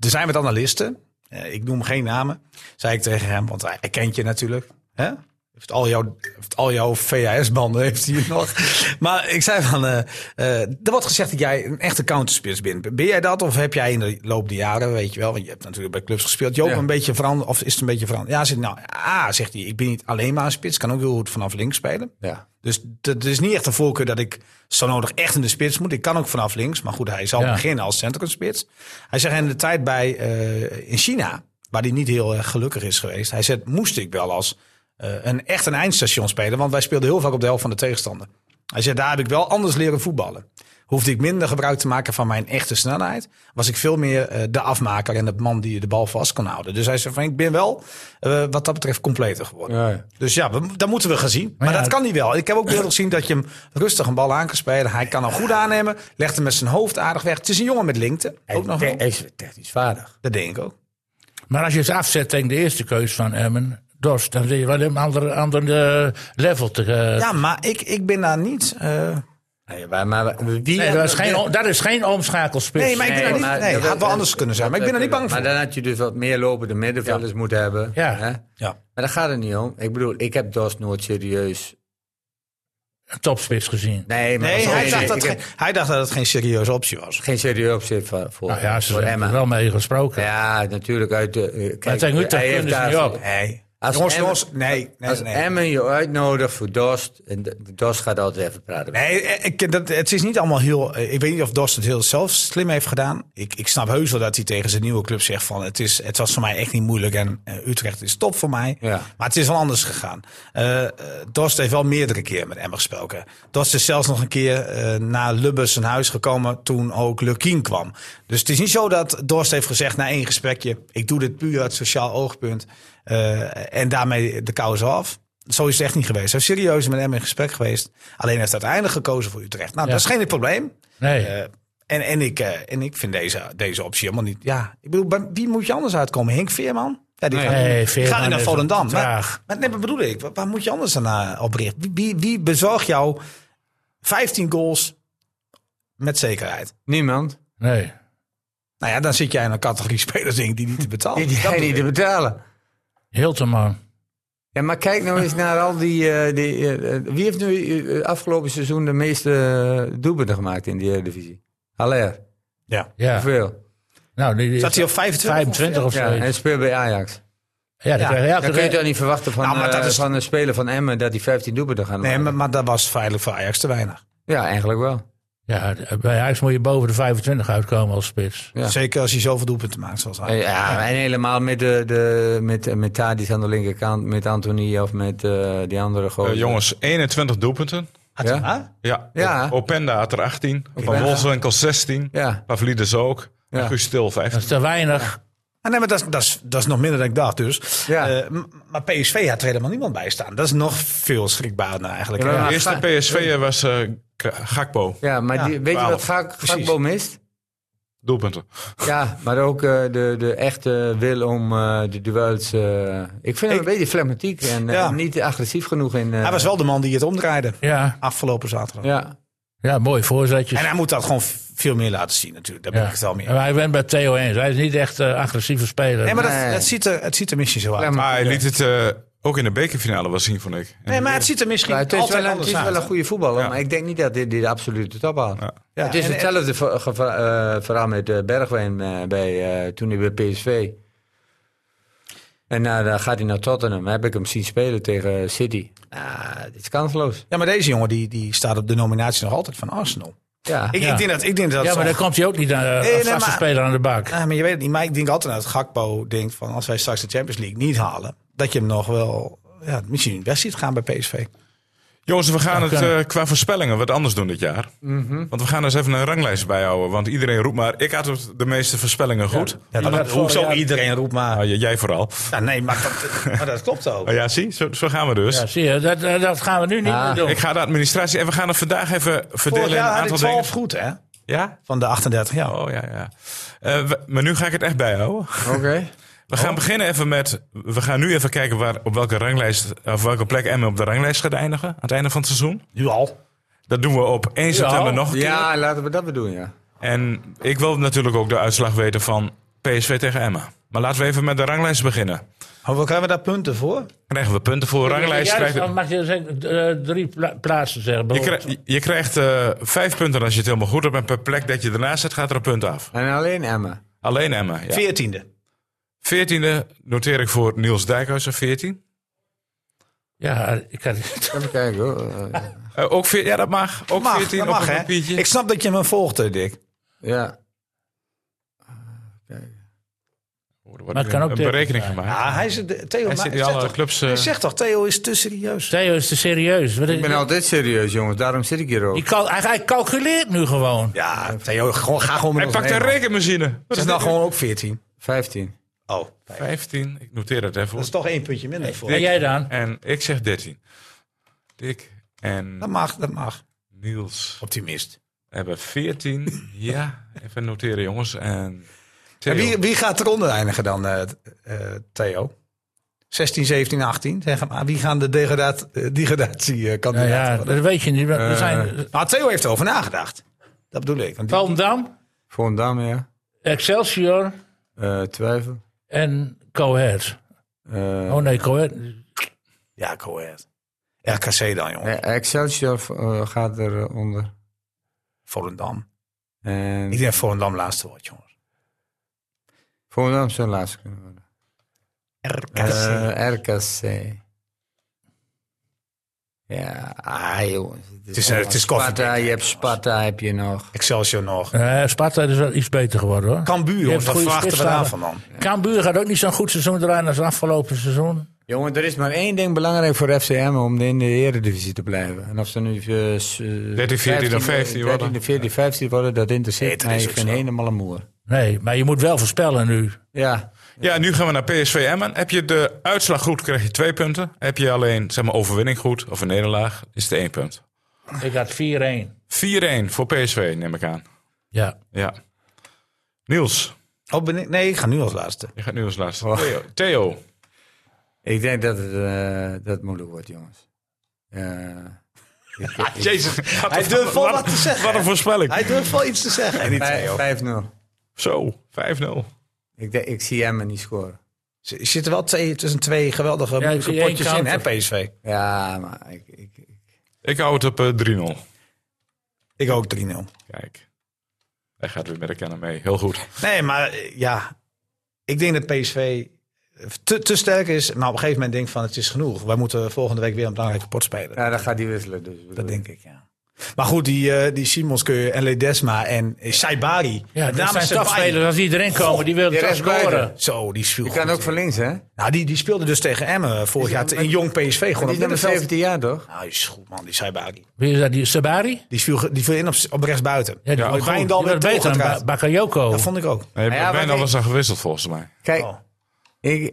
S4: er zijn wat analisten. Eh, ik noem geen namen, zei ik tegen hem. Want hij, hij kent je natuurlijk. Hè? Heeft al jouw, heeft al jouw VHS-banden heeft hij nog. Maar ik zei van, eh, eh, er wordt gezegd dat jij een echte counterspits bent. Ben jij dat of heb jij in de loop der jaren, weet je wel, want je hebt natuurlijk bij clubs gespeeld. Joop
S5: Ja.
S4: een beetje veranderd of is het een beetje veranderd? Ja, zegt, hij, nou, ah, zegt hij, ik ben niet alleen maar een spits. Kan ook heel goed vanaf links spelen.
S5: Ja.
S4: Dus het is niet echt een voorkeur dat ik zo nodig echt in de spits moet. Ik kan ook vanaf links, maar goed, hij zal
S2: Ja.
S4: beginnen als centrumspits. Hij zegt in de tijd bij eh, in China, waar hij niet heel erg gelukkig is geweest. Hij zegt, moest ik wel als eh, een echt een eindstation spelen, want wij speelden heel vaak op de helft van de tegenstander. Hij zegt, daar heb ik wel anders leren voetballen. Hoefde ik minder gebruik te maken van mijn echte snelheid. Was ik veel meer eh, de afmaker en de man die de bal vast kon houden. Dus hij zegt van, ik ben wel eh, wat dat betreft completer geworden.
S5: Ja, ja.
S4: Dus ja, we, dat moeten we gaan zien. Maar,
S2: ja,
S4: dat kan hij wel. Ik heb ook beelden gezien dat je hem rustig een bal aan kan spelen. Hij kan hem goed aannemen. Legt hem met zijn hoofd aardig weg. Het is een jongen met lengte. Ook nog wel.
S5: Hij is technisch vaardig.
S4: Dat denk ik ook.
S2: Maar als je het afzet tegen de eerste keus van Emmen, Dorst, dan zit je wel een ander, ander eh, level te. eh,
S4: Ja, maar ik, ik ben daar niet... eh,
S5: Nee, maar, maar wie
S2: nee, dat, is geen, o- dat is geen omschakelspits.
S4: nee, maar ik ben daar niet...
S5: maar
S4: Nee,
S5: dat-
S4: het had wel anders kunnen zijn. Maar ik ben er niet bang
S5: Maar
S4: voor.
S5: dan had je dus wat meer lopende middenvelders moeten hebben.
S2: Ja.
S5: Hè?
S4: Ja.
S5: Maar daar gaat het niet om. Ik bedoel, ik heb Dost nooit serieus.
S2: Een topspits gezien.
S5: Nee, maar
S4: Nee,
S5: sorry,
S4: hij dacht,
S5: ik
S4: dat
S5: heb
S4: geen, hij dacht dat het geen serieuze optie was.
S5: geen serieus opzet voor, voor,
S2: Nou ja, ze
S5: voor
S2: hebben
S5: Emma.
S2: er wel mee gesproken.
S5: Ja, natuurlijk uit de. eh, Kijk,
S2: Maar tegen Utrecht
S5: hij heeft
S2: kunnen ze
S5: daar-
S2: niet op.
S4: Nee.
S5: Als
S4: jongens,
S5: Emmen-
S4: jongens, nee, nee,
S5: Als
S4: nee.
S5: Emmen je uitnodigt voor Dost, en de- Dost gaat altijd even praten.
S4: Nee, eh, ik, dat, het is niet allemaal heel. eh, Ik weet niet of Dost het heel zelf slim heeft gedaan. Ik, ik snap heus wel dat hij tegen zijn nieuwe club zegt: van het, is, het was voor mij echt niet moeilijk en eh, Utrecht is top voor mij.
S5: Ja.
S4: Maar het is wel anders gegaan. Eh, eh, Dost heeft wel meerdere keren met Emmer gesproken. Dost is zelfs nog een keer eh, naar Lubbers zijn huis gekomen toen ook Lukien kwam. Dus het is niet zo dat Dost heeft gezegd na één gesprekje: ik doe dit puur uit sociaal oogpunt eh, en daarmee de kous af. Zo is het echt niet geweest. Hij is serieus met hem in gesprek geweest. Alleen hij heeft uiteindelijk gekozen voor Utrecht. Nou,
S2: Ja.
S4: dat is geen probleem.
S2: Nee.
S4: Eh, en, en, ik, eh, en ik vind deze, deze optie helemaal niet. Ja, ik bedoel, bij wie moet je anders uitkomen? Henk Veerman? Ja, die gaat,
S2: Nee,
S4: die
S2: Veerman
S4: gaat nu naar
S2: is
S4: Volendam.
S2: te
S4: Maar,
S2: traag.
S4: maar nee, maar bedoel ik, waar, waar moet je anders dan eh, op richten? Wie, wie, wie bezorgt jou 15 goals met zekerheid?
S5: Niemand.
S2: Nee.
S4: Nou ja, dan zit jij in een categorie spelers denk ik, die niet te betalen.
S5: Die die hij niet te betalen.
S2: Hilterman.
S5: Ja, maar kijk nou eens naar al die. eh, die eh, eh, wie heeft nu eh, afgelopen seizoen de meeste eh, doelpunten gemaakt in de Eredivisie? Haller.
S4: ja.
S2: Ja.
S5: Hoeveel?
S2: Nou, die, die
S4: Zat hij op
S2: is
S4: 25?
S2: 25 of zo.
S5: Ja,
S2: Ja,
S5: hij speelt bij Ajax.
S2: die krijgen elke
S5: Dan kun je
S2: keer-
S5: toch niet verwachten van,
S4: Nou, maar dat
S5: eh,
S4: is-
S5: van een speler van Emmen dat hij 15 doelpunten gaat
S4: Nee,
S5: maken.
S4: maar, maar dat was feitelijk voor Ajax te weinig.
S5: Ja, eigenlijk wel.
S2: ja, eh, bij Ajax moet je boven de 25 uitkomen als spits.
S5: Ja.
S4: Zeker als je zoveel doelpunten maakt zoals hij.
S5: Eh, Ja, en helemaal met, de, de, met, met Tadis aan de linkerkant, met Anthony of met eh, die andere gozer.
S1: Eh, jongens, 21 doelpunten.
S4: Had
S5: Ja?
S4: hij- Huh?
S1: Ja.
S5: Ja.
S1: Op- Openda had er 18.
S5: Openda.
S1: Van Wolfswinkel 16.
S5: Ja,
S1: Pavlidis ook.
S5: Ja.
S1: En Guus Stil
S2: Dat
S1: 15.
S2: is te weinig.
S4: Ah, nee, maar dat is, dat, is, dat is nog minder dan ik dacht dus.
S5: Ja.
S4: Eh, m- maar PSV had er helemaal niemand bij staan. Dat is nog veel schrikbaarder nou eigenlijk.
S5: Ja,
S4: Ja,
S5: maar-
S1: De eerste PSV'er was eh, K- Gakpo.
S5: ja maar
S4: Ja,
S5: die, weet je wat
S1: 12.
S5: vaak
S4: Precies.
S5: Gakpo mist?
S1: Doelpunten.
S5: Ja, maar ook eh, de, de echte wil om eh, de duels... eh, ik vind hem een beetje flematiek en eh,
S4: Ja.
S5: niet agressief genoeg in... eh,
S4: Hij was wel de man die het omdraaide
S2: Ja,
S4: afgelopen zaterdag.
S5: Ja,
S2: ja mooi voorzetjes.
S4: En hij moet dat gewoon v- veel meer laten zien natuurlijk. Daar ben
S2: Ja.
S4: ik het wel mee.
S2: Maar hij bent bij Theo eens. Hij is niet echt een agressieve speler.
S4: Nee, maar dat,
S5: Nee.
S4: dat ziet er, het ziet er misschien zo uit.
S5: flematiek.
S1: Maar hij liet het eh, ook in de bekerfinale wel zien, vond ik. En-
S4: Nee, maar het ziet er misschien
S5: Maar het is,
S4: altijd
S5: wel een, het
S4: anders
S5: is
S4: uit.
S5: wel een goede voetballer,
S1: Ja.
S5: maar ik denk niet dat dit, dit de absolute top haalt.
S1: Ja.
S4: Ja,
S5: het is
S4: en-
S5: hetzelfde ver- geva- eh, verhaal met eh, Bergwijn eh, bij, eh, toen hij bij PSV. En nou, dan gaat hij naar Tottenham. Heb ik hem zien spelen tegen City. Ah, dit is kansloos.
S4: ja, maar deze jongen die, die staat op de nominatie nog altijd van Arsenal.
S5: Ja.
S4: Ik,
S2: Ja.
S4: ik denk dat... Ik denk dat
S2: ja, maar
S4: zo'n-
S2: dan komt hij ook niet eh, als
S4: nee,
S2: vaste
S4: maar-
S2: speler aan de bak.
S4: Ah, maar je weet het niet. Maar ik denk altijd dat Gakpo denkt van als wij straks de Champions League niet halen, dat je hem nog wel ja, misschien best ziet gaan bij PSV.
S1: Jongens, we gaan
S2: Dat
S1: het
S2: kan.
S1: eh, qua voorspellingen wat anders doen dit jaar. Want we gaan eens even een ranglijst bijhouden. Want iedereen roept maar, ik had het- de meeste voorspellingen goed.
S4: Ja,
S2: dat-
S4: dat,
S2: dat-
S4: hoezo
S2: ja.
S4: iedereen roept maar.
S1: Nou, j- jij vooral.
S4: Ja, nee, maar dat, maar dat klopt ook.
S1: Oh, ja, zie, zo, zo gaan we dus.
S2: Ja, zie je, dat, eh, dat gaan we nu niet
S5: Ah.
S2: meer doen.
S1: Ik ga de administratie en we gaan het vandaag even verdelen
S4: Vorig
S1: in een
S4: jaar had ik
S1: aantal
S4: 12
S1: dingen. Oh.
S4: goed, hè?
S1: Ja?
S4: Van de 38 jaar.
S1: Oh ja, ja. Eh, we- maar nu ga ik het echt bijhouden.
S5: Oké.
S1: We We gaan beginnen even met. We gaan nu even kijken waar, op welke ranglijst. Of welke plek Emmen op de ranglijst gaat eindigen. Aan het einde van het seizoen.
S4: Nu al.
S1: Dat doen we op 1 september nog een keer.
S5: Ja, laten we dat weer doen, ja.
S1: En ik wil natuurlijk ook de uitslag weten van PSV tegen Emmen. Maar laten we even met de ranglijst beginnen.
S4: Maar we krijgen daar punten voor.
S1: Krijgen we punten voor ranglijst?
S2: Ja,
S1: Krijg,
S2: dan
S1: je,
S2: mag je zeggen, eh, drie pla- plaatsen zeggen. bijvoorbeeld.
S1: krijgt- je krijgt eh, vijf punten als je het helemaal goed hebt. En per plek dat je ernaast zit, gaat er een punt af.
S5: En alleen Emma.
S1: Alleen Emmen. Ja.
S4: Veertiende.
S1: Veertiende noteer ik voor Niels Dijkhuizen, 14.
S2: Ja, ik had het
S5: Even kijken hoor. Eh,
S1: Eh, ook veer- ja, dat mag. Ook
S4: Mag,
S1: 14
S4: dat
S1: op
S4: mag,
S1: een
S4: hè?
S1: papiertje.
S4: Ik snap dat je me volgt, hè, Dick.
S5: ja. Ah,
S1: Oh, er wordt
S2: Maar het kan ook
S1: een
S2: tegen
S1: berekening
S2: zijn.
S1: gemaakt.
S4: Ja, Ah, hij, is, de- Theo,
S1: Hij
S4: maar-
S1: zit in
S4: zegt
S1: alle
S4: toch-
S1: clubs. eh,
S4: hij zegt toch, Theo is te serieus.
S2: Theo is te serieus. Wat is-
S5: Ik ben altijd serieus, jongens. Daarom zit ik hier ook.
S2: die cal- hij, hij calculeert nu gewoon.
S4: Ja, Theo, gewoon, ga gewoon
S1: hij
S4: met ons
S1: pakt
S4: mee,
S1: een
S4: man.
S1: rekenmachine.
S4: Het is nou gewoon ook 14.
S5: 15.
S4: Oh,
S1: 15. Ik noteer het even.
S4: dat is toch één puntje minder voor.
S2: En jij dan?
S1: En ik zeg 13. Dick
S4: Dat
S1: en
S4: mag, dat mag.
S1: Niels
S4: Optimist.
S1: hebben 14. ja, even noteren, jongens. En Theo.
S4: En wie, wie gaat eronder eindigen dan, eh, eh, Theo? 16, 17, 18, zeg maar. Wie gaan de degradaat, eh,
S2: Nou
S4: degradatiekandidaten
S2: ja, Eh.
S4: worden?
S2: dat weet je niet. We we zijn
S4: Nou, Theo heeft erover nagedacht. Dat bedoel ik. Want die-
S2: Palmdam,
S5: Volendam, ja.
S2: Excelsior
S5: Eh, twijfel.
S2: en Cohet.
S5: Eh,
S2: Oh nee, Cohet.
S4: ja, Coët. RKC dan, jongen.
S5: eh, Excelsior eh, gaat eronder.
S4: Volendam. Ik
S5: En
S4: denk dat Volendam laatste wordt, jongens.
S5: Volendam zou laatste kunnen worden.
S4: RKC.
S5: Eh, RKC. Ja, ah, jongens.
S4: Het is, eh, het is koffie.
S5: Sparta, je hebt Sparta, heb je nog.
S4: Excelsior nog.
S2: Eh, Sparta is wel iets beter geworden hoor.
S4: Cambuur, jongens. Wat
S2: goede
S4: verwachten we daarvan
S2: spitsen.
S4: dan?
S2: Cambuur gaat ook niet zo'n goed seizoen draaien als afgelopen seizoen.
S5: Jongen, er is maar één ding belangrijk voor FCM om in de eredivisie te blijven. En of ze nu... eh, s- eh,
S1: 13, 14 of 15 worden.
S5: 13, 14, 15 worden, dat interesseert
S4: Nee,
S5: mij
S4: dat is ook
S5: geen
S4: zo.
S5: helemaal een moer.
S2: Nee, maar je moet wel voorspellen nu.
S5: Ja,
S1: Ja, nu gaan we naar PSV Emmen. Heb je de uitslag goed, krijg je twee punten. Heb je alleen zeg maar, overwinning goed of een nederlaag, is het één punt.
S2: Ik had 4-1.
S1: 4-1 voor PSV, neem ik aan.
S2: Ja.
S1: Ja. Niels, Oh.
S4: Oh, ben ik- nee, ik ga nu als laatste.
S1: je gaat nu als laatste. Theo. Theo.
S5: ik denk dat het, eh, dat het moeilijk wordt, jongens. Eh, ik- ik-
S1: Ah, Jezus.
S4: Hij durft wel wat te zeggen.
S1: Wat een voorspelling.
S4: Hij durft wel iets te zeggen. En die Theo.
S5: vijf- 5-0.
S1: Zo, 5-0.
S5: Ik, denk- ik zie hem niet scoren.
S4: Er zitten wel twee, tussen twee geweldige
S2: ik
S4: moeilijke
S2: zie één
S4: potjes in, hè,
S2: counter.
S4: PSV?
S5: Ja, maar ik, ik, ik-
S1: Ik hou het op eh, 3-0.
S4: Ik ook 3-0.
S1: Kijk. Hij gaat weer met de kennen mee. Heel goed.
S4: Nee, maar eh, ja. Ik denk dat PSV eh, te, te sterk is. Maar op een gegeven moment denk ik van het is genoeg. Wij moeten volgende week weer een belangrijke pot spelen.
S5: ja, dan gaat hij wisselen. Dus,
S4: Dat denk ik, ja. Maar goed, die, eh, die Simons kun je- en Ledesma en eh, Saibari.
S2: Ja,
S4: Met
S2: dat
S4: name
S2: zijn
S4: Saibari.
S2: topspelers. Als die erin komen, die willen
S5: die
S2: toch
S5: rest blijven.
S2: scoren.
S4: Zo, die viel
S5: Je kan
S4: goed.
S5: ook van links, hè?
S4: Nou, die, die speelde dus tegen Emmen vorig
S5: Is-
S4: jaar te- in
S5: maar-
S4: jong PSV.
S5: Die
S4: Gewoon
S5: is
S4: op
S5: nummer
S4: middenveld.
S5: 17 jaar, toch?
S4: Nou, die is goed, man. Die Saibari.
S2: Wie is dat? Die Sabari?
S4: Die viel, ge- die viel in op, op rechts buiten.
S2: Ja, die
S1: Ja,
S2: wordt
S4: Wijndal
S2: goed.
S4: werd
S2: Die wordt beter dan
S4: doorgedraaid.
S2: Ba- Bakayoko.
S4: Dat vond ik ook.
S1: Nee,
S5: Nou Ja,
S1: ik ben
S5: maar
S1: al eens aan gewisseld volgens mij.
S5: Kijk,
S4: Oh.
S5: ik,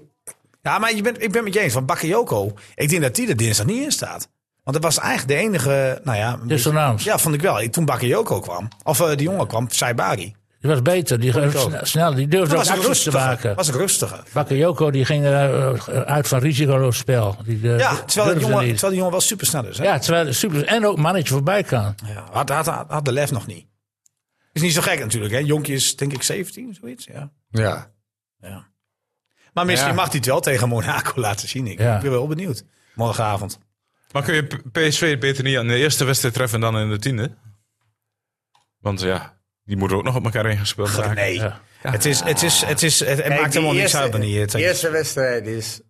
S4: Ja, maar je bent, ik ben met je eens. Van Bakayoko, ik denk dat die er dinsdag niet in staat. Want dat was eigenlijk de enige, nou ja... een
S2: Dissonans.
S4: beetje- Ja, vond ik wel. Toen Bakayoko kwam, of eh, die jongen kwam, Saibari.
S2: Die was beter. Die,
S4: ik ook.
S2: sne- snel, die durfde
S4: Dat
S2: ook
S4: was een
S2: acties te
S4: rustiger.
S2: maken.
S4: was een rustiger.
S2: Bakayoko die ging eh, uit van risicoloos spel. Die, eh,
S4: Ja, terwijl die
S2: durfde
S4: jongen,
S2: niet.
S4: terwijl die jongen wel supersnel is. Hè?
S2: Ja, terwijl super, en ook mannetje voorbij kan.
S4: Ja, had, had, had, had de lef nog niet. Is niet zo gek natuurlijk. Hè? Jonkie is denk ik 17, zoiets. Ja.
S5: ja.
S4: Maar misschien
S5: Ja.
S4: mag hij het wel tegen Monaco laten zien. Ik,
S2: Ja.
S4: ik ben wel benieuwd. Morgenavond.
S1: Maar kun je P- PSV beter niet aan de eerste wedstrijd treffen dan in de tiende? Want ja, die moeten ook nog op elkaar ingespeeld
S4: Ach,
S1: raken.
S4: nee.
S2: Ja.
S4: Het, is, het, is, het, is, het, het
S5: Kijk,
S4: maakt
S5: die
S4: helemaal niks
S5: eerste-
S4: uit wanneer je het
S5: De eerste wedstrijd is...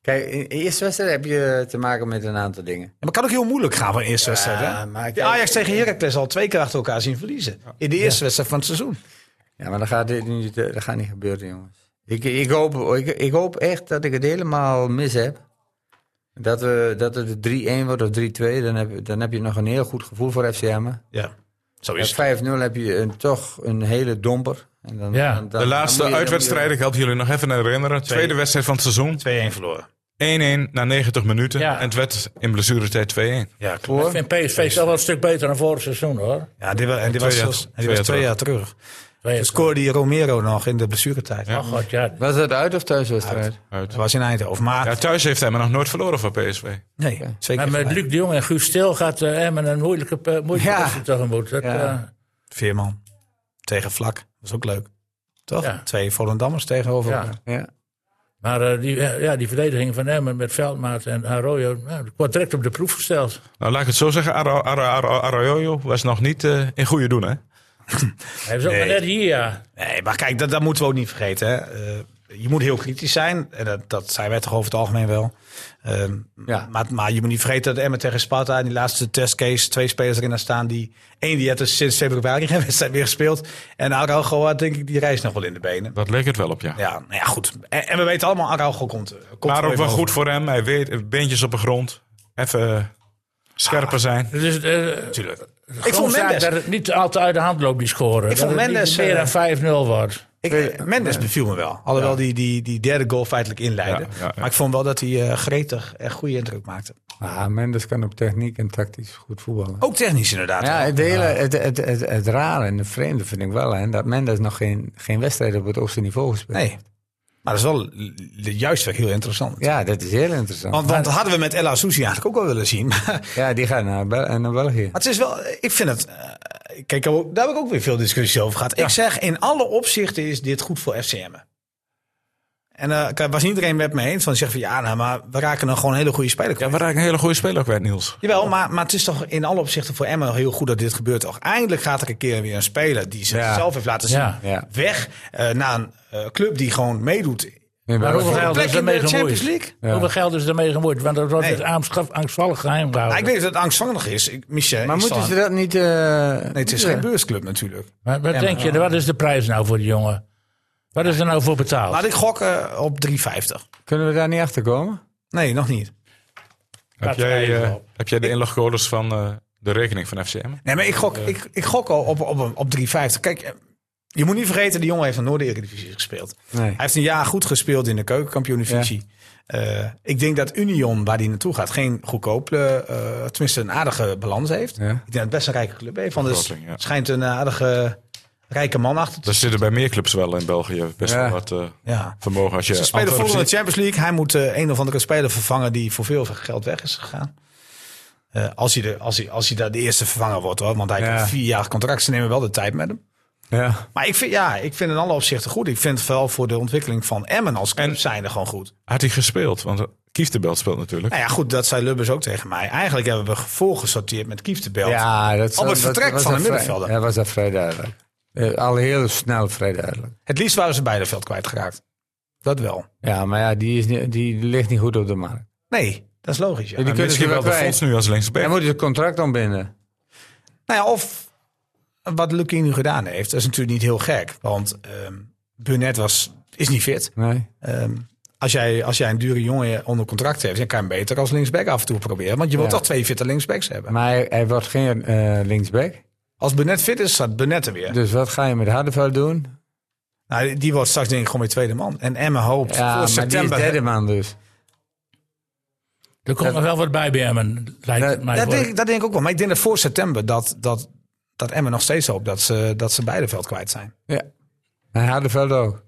S5: Kijk, in de eerste wedstrijd heb je te maken met een aantal dingen.
S4: Ja, Maar het kan ook heel moeilijk gaan van de eerste wedstrijd. Hè?
S5: maar
S4: Ja, Ajax tegen Heracles al twee keer achter elkaar zien verliezen. In de eerste wedstrijd van het seizoen.
S5: Ja, maar dat gaat, dit nu, dat gaat niet gebeuren, jongens. Ik, ik, hoop, ik, ik hoop echt dat ik het helemaal mis heb. Dat, we, dat het 3-1 wordt of 3-2. Dan heb, dan heb je nog een heel goed gevoel voor FCM.
S4: Ja, zo is het.
S5: Met 5-0 heb je een, toch een hele domper. En dan,
S2: Ja,
S5: dan- dan-
S1: De
S5: dan
S1: laatste
S5: moet je-
S1: uitwedstrijd, ik help jullie nog even herinneren. Tweede wedstrijd van het seizoen.
S4: 2-1 verloren.
S1: 1-1 na 90 minuten.
S2: Ja.
S1: En het werd in blessuretijd 2-1.
S4: Ja,
S2: Ik vind PSV zelf wel een stuk beter dan vorig seizoen hoor.
S4: Ja, dit was, en dit
S1: Twee
S4: was,
S1: jaar
S4: zelfs-
S1: terug.
S4: en dit was twee jaar terug.
S2: Twee
S4: Toen scoorde die Romero nog in de blessuretijd.
S2: Oh god, ja.
S5: Was het uit of thuiswedstrijd?
S4: Dat was in Eindhoven. Maar
S1: Ja, thuis heeft hij maar nog nooit verloren van PSV.
S4: nee, zeker
S2: Maar met
S4: gelijk.
S2: Luc de Jong en Guus Stil gaat eh Emmen een moeilijke, eh, moeilijke
S4: Ja.
S2: wedstrijd tegemoet. Dat,
S5: Ja.
S2: eh,
S4: Veerman tegen Vlak. was ook leuk. Toch?
S2: Ja.
S4: Twee Volendammers tegenover
S2: Ja.
S4: elkaar.
S5: Ja.
S2: maar eh, die, eh, ja, die verdediging van Emmen met Veldmaat en Arroyo, nou, dat wordt direct op de proef gesteld.
S1: Nou, laat ik het zo zeggen. Arroyo Ara, Ara, Arroyo was nog niet eh, in goede doen, hè?
S2: Hij is ook maar
S4: Nee.
S2: net hier, ja.
S4: Nee, maar kijk, dat, dat moeten we ook niet vergeten. Hè. Eh, je moet heel kritisch zijn. En dat, dat zijn wij toch over het algemeen wel. Ehm,
S5: Ja.
S4: maar, maar je moet niet vergeten dat Emmen tegen Sparta... in die laatste testcase twee spelers erin staan. Die, één die heeft dus sinds februari geen wedstrijd meer gespeeld. En Araujo had denk ik die reis nog wel in de benen.
S1: Dat leek het wel op, ja.
S4: Ja, nou ja, goed. En, en we weten allemaal, Araujo komt, eh, komt
S1: maar
S4: er
S1: ook
S4: even
S1: wel
S4: over.
S1: goed voor hem. Hij weet, beentjes op de grond. Even eh, scherper zijn.
S2: Dus, Natuurlijk.
S4: Ik vond Mendes...
S2: dat het niet al te uit de hand loopt, die scoren.
S4: Ik
S2: dat
S4: vond
S2: het niet
S4: Mendes, eh,
S2: meer dan 5-0 wordt.
S4: Ik, eh, Mendes beviel me wel. Alhoewel die, die, die derde goal feitelijk inleidde.
S1: Ja, ja, ja.
S4: Maar ik vond wel dat hij eh, gretig echt goede indruk maakte.
S5: Ah, Mendes kan op techniek en tactisch goed voetballen.
S4: Ook technisch inderdaad.
S5: Ja,
S4: wel.
S5: het, hele, het, het, het, het rare en het vreemde vind ik wel... Hè, dat Mendes nog geen, geen wedstrijd op het hoogste niveau gespeeld
S4: Nee. Maar dat is wel l- l- juist wel heel interessant.
S5: Ja, dat is heel interessant.
S4: Want, want dat hadden we met El Soussi eigenlijk ook wel willen zien. Maar
S5: ja, die gaat naar, Bel eh, naar België.
S4: het is wel, ik vind het. eh, Kijk, daar heb ik ook weer veel discussie over gehad. Ik zeg, in alle opzichten is dit goed voor FCM. En eh, ik was niet iedereen met me eens. Van zegt van ja, nou, maar we raken dan gewoon een hele goede speler
S1: Ja, we raken een hele goede speler kwijt, Niels.
S4: Jawel, maar, maar het is toch in alle opzichten voor Emma heel goed dat dit gebeurt. Toch? Eindelijk gaat er een keer weer een speler die zichzelf heeft laten zien
S2: Ja.
S5: Ja.
S4: weg eh, naar een eh, club die gewoon meedoet.
S5: Nee,
S2: Maar hoeveel
S5: België.
S2: geld
S4: Plek
S2: is
S4: in de
S2: ermee
S4: Champions
S2: gemoeid?
S4: League.
S5: Ja.
S2: Hoeveel geld is ermee gemoeid? Want dat wordt
S4: Nee.
S2: het aangst- angstvallig geheim
S4: Nou,
S2: gehouden.
S4: ik weet dat het angstvallig is. Ik, Michel,
S5: Maar
S4: ik
S5: moeten
S4: zal-
S5: ze dat niet... eh,
S4: Nee, het is
S5: ja.
S4: geen beursclub natuurlijk.
S2: maar wat denk je, wat is de prijs nou voor die jongen? Wat is er nou voor betaald?
S4: Laat ik gokken op 3,50.
S5: Kunnen we daar niet achter komen?
S4: Nee, nog niet.
S1: Heb
S2: Laten we
S1: jij,
S2: even
S1: eh,
S2: op.
S1: heb jij de inlogcodes van eh, de rekening van FCM?
S4: Nee, maar ik gok, ik, ik gok al op, op, op 3,50. Kijk, eh, je moet niet vergeten, die jongen heeft nog nooit de Eredivisie gespeeld.
S5: Nee.
S4: Hij heeft een jaar goed gespeeld in de keukenkampioen-divisie. Eh, ik denk dat Union, waar hij naartoe gaat, geen goedkope, eh tenminste een aardige balans heeft. Ik
S5: Ja.
S4: denk dat het best een rijke club heeft. Want het
S1: Begroting, ja.
S4: schijnt een aardige rijke man achter te
S5: Dus-
S1: Er zitten bij meer clubs wel in België best
S5: Ja.
S1: wel wat eh,
S4: Ja.
S1: vermogen. Als je
S4: Ze spelen
S1: Antwerpen
S4: volgende
S1: ziet.
S4: Champions League. Hij moet eh, een of andere speler vervangen die voor veel geld weg is gegaan. Eh, als, hij de, als, hij, als hij daar de eerste vervanger wordt hoor. Want hij
S5: Ja.
S4: heeft een vierjarig contract. Ze nemen wel de tijd met hem.
S5: Ja.
S4: Maar ik vind, ja, ik vind in alle opzichten goed. Ik vind het vooral voor de ontwikkeling van Emmen als club zijn er gewoon goed.
S1: Had hij gespeeld? Want eh, Kieftenbelt speelt natuurlijk.
S4: Nou ja, goed, dat zei Lubbers ook tegen mij. Eigenlijk hebben we gevolgen gesorteerd met Kieftenbelt.
S5: Ja, dat
S4: Op het
S5: dat-
S4: vertrek
S5: was
S4: van
S5: dat
S4: de
S5: vrij-
S4: middenvelder.
S5: Ja, was dat vrij duidelijk. Eh, al heel snel vrij duidelijk.
S4: Het liefst waren ze beide veld kwijtgeraakt. Dat wel.
S5: Ja, maar ja, die, is niet, die ligt niet goed op de markt.
S4: Nee, dat is logisch. Ja.
S5: die
S1: En
S5: kunnen ze
S1: misschien
S5: wel
S1: wel de
S5: kwijt.
S1: fonds nu als linksback.
S5: Hij moet het contract ontbinden.
S4: Nou ja, of wat Lucky nu gedaan heeft, dat is natuurlijk niet heel gek. Want ehm Burnett was, is niet fit.
S5: Nee.
S4: Ehm, als, jij, als jij een dure jongen onder contract hebt, dan kan je hem beter als linksback af en toe proberen. Want je wilt
S5: Ja.
S4: toch twee fitte linksbacks hebben.
S5: Maar hij, hij wordt geen eh, linksback.
S4: Als Burnett fit is, staat Burnett er weer.
S5: Dus wat ga je met Hardeveld doen?
S4: Nou, die wordt straks denk ik gewoon weer tweede man. En Emma hoopt
S5: Ja,
S4: voor
S5: maar
S4: september.
S5: die is derde man dus.
S2: er komt nog wel wat bij bij Emmen, lijkt
S5: Dat-
S2: het mij.
S4: dat,
S2: voor.
S4: denk, ik- dat denk ik ook wel. Maar ik denk dat voor september dat, dat, dat Emma nog steeds hoopt dat ze, dat ze beide veld kwijt zijn.
S5: Ja. En Hardeveld ook.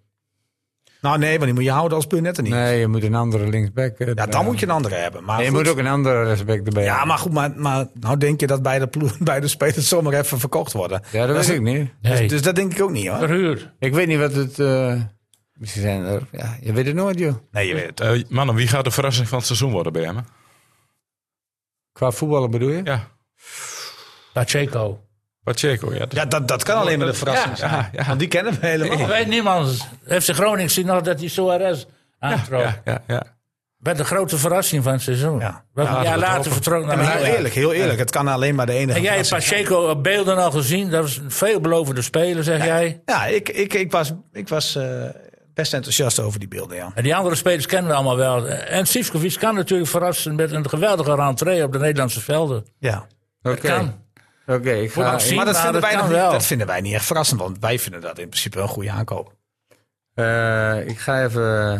S4: Nou nee, want die moet je houden als Burnett er niet.
S5: Nee, je moet een andere linksback. eh,
S4: Ja, dan
S5: erbij.
S4: moet je een andere hebben. Maar
S5: En je
S4: goed.
S5: moet ook een andere respect erbij.
S4: Ja,
S5: hebben.
S4: maar goed, maar, maar nou denk je dat beide, ploegen- beide spelers zomaar even verkocht worden.
S5: Ja, dat weet ik niet.
S2: Nee,
S4: Dus, dus dat denk ik ook niet hoor.
S2: verhuurd.
S5: Ik weet niet wat het... eh, misschien zijn er... Ja, je weet het nooit, joh.
S4: Nee, je weet het.
S1: Eh, mannen, wie gaat de verrassing van het seizoen worden bij hem? hè?
S5: Qua voetballen bedoel je?
S1: Ja,
S2: Pacheco.
S1: Pacheco. Ja,
S4: Ja, dat, dat kan alleen maar de verrassing zijn.
S1: ja, ja.
S4: Want die kennen we helemaal.
S2: Dat Oh, weet niemand. FC Groningen ziet nog dat hij Suarez aantrok.
S1: ja, ja, ja.
S2: Werd de grote verrassing van het seizoen.
S4: Ja.
S2: Wat
S1: Ja,
S2: een jaar
S1: dat
S2: later
S1: hopen.
S2: vertrok naar
S4: Ja, maar heel
S2: Ajax.
S4: eerlijk, heel eerlijk. Het kan alleen maar de enige.
S2: En jij hebt
S4: verrassing zijn.
S2: Pacheco op beelden al gezien. Dat was een veelbelovende speler, zeg jij.
S4: Ja, ik, ik, ik was, ik was eh, best enthousiast over die beelden, ja.
S2: En die andere spelers kennen we allemaal wel. En Sivkovic kan natuurlijk verrassen met een geweldige rentree op de Nederlandse velden.
S4: ja.
S5: Oké.
S2: Kan.
S5: Oké, ik
S2: Moet
S5: ga...
S2: nog zien.
S4: Maar dat
S2: Maar
S4: vinden,
S2: dat
S4: wij nog
S2: kan
S4: niet,
S2: wel.
S4: dat vinden wij niet echt verrassend, want wij vinden dat in principe een goede aankoop.
S5: Eh, ik ga even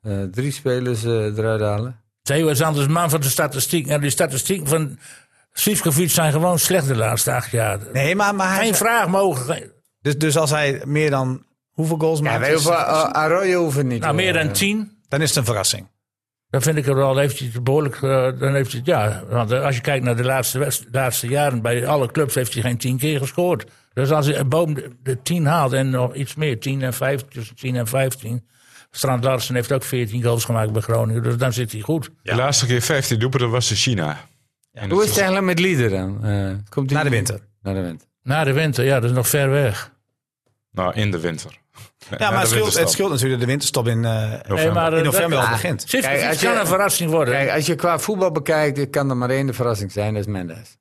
S5: eh, drie spelers eh, eruit halen.
S2: Theo is anders man van de statistiek. En die statistieken van Sivkovic zijn gewoon slecht de laatste acht jaar.
S4: Nee, maar, maar hij,
S2: Geen vraag mogen.
S4: Dus, dus als hij meer dan hoeveel goals
S5: Ja,
S4: maakt,
S5: wij
S4: is-
S5: hoeven, eh, Arroyo hoeven niet.
S2: Nou,
S5: hoor.
S2: meer dan tien.
S4: dan is het een verrassing.
S2: Dan vind ik het al heeft hij het behoorlijk. eh, dan heeft hij, het- ja, want eh, als je kijkt naar de laatste, wedst- laatste jaren, bij alle clubs heeft hij geen tien keer gescoord. Dus als hij een boom de, de tien haalt en nog iets meer, tien en vijftien, tussen tien en vijftien. Strand Larsen heeft ook 14 goals gemaakt bij Groningen, dus dan zit hij goed.
S1: De laatste keer 15 doelpunten was in China. En
S5: Hoe is
S1: het-
S5: het eigenlijk met Lieder dan? Eh, komt die-
S4: Na de winter.
S5: Naar de winter.
S2: Na de winter, ja, dat is nog ver weg.
S1: Nou, in de winter.
S4: Ja, maar het scheelt, het scheelt natuurlijk de winterstop in, eh,
S2: Nee, maar, eh,
S4: in november
S2: dat-
S4: al begint.
S2: Zit-
S5: Kijk,
S2: het
S5: als
S2: kan
S5: je-
S2: een verrassing worden.
S5: Kijk, als je qua voetbal bekijkt, eh, kan er maar één de verrassing zijn. Dat is Mendes.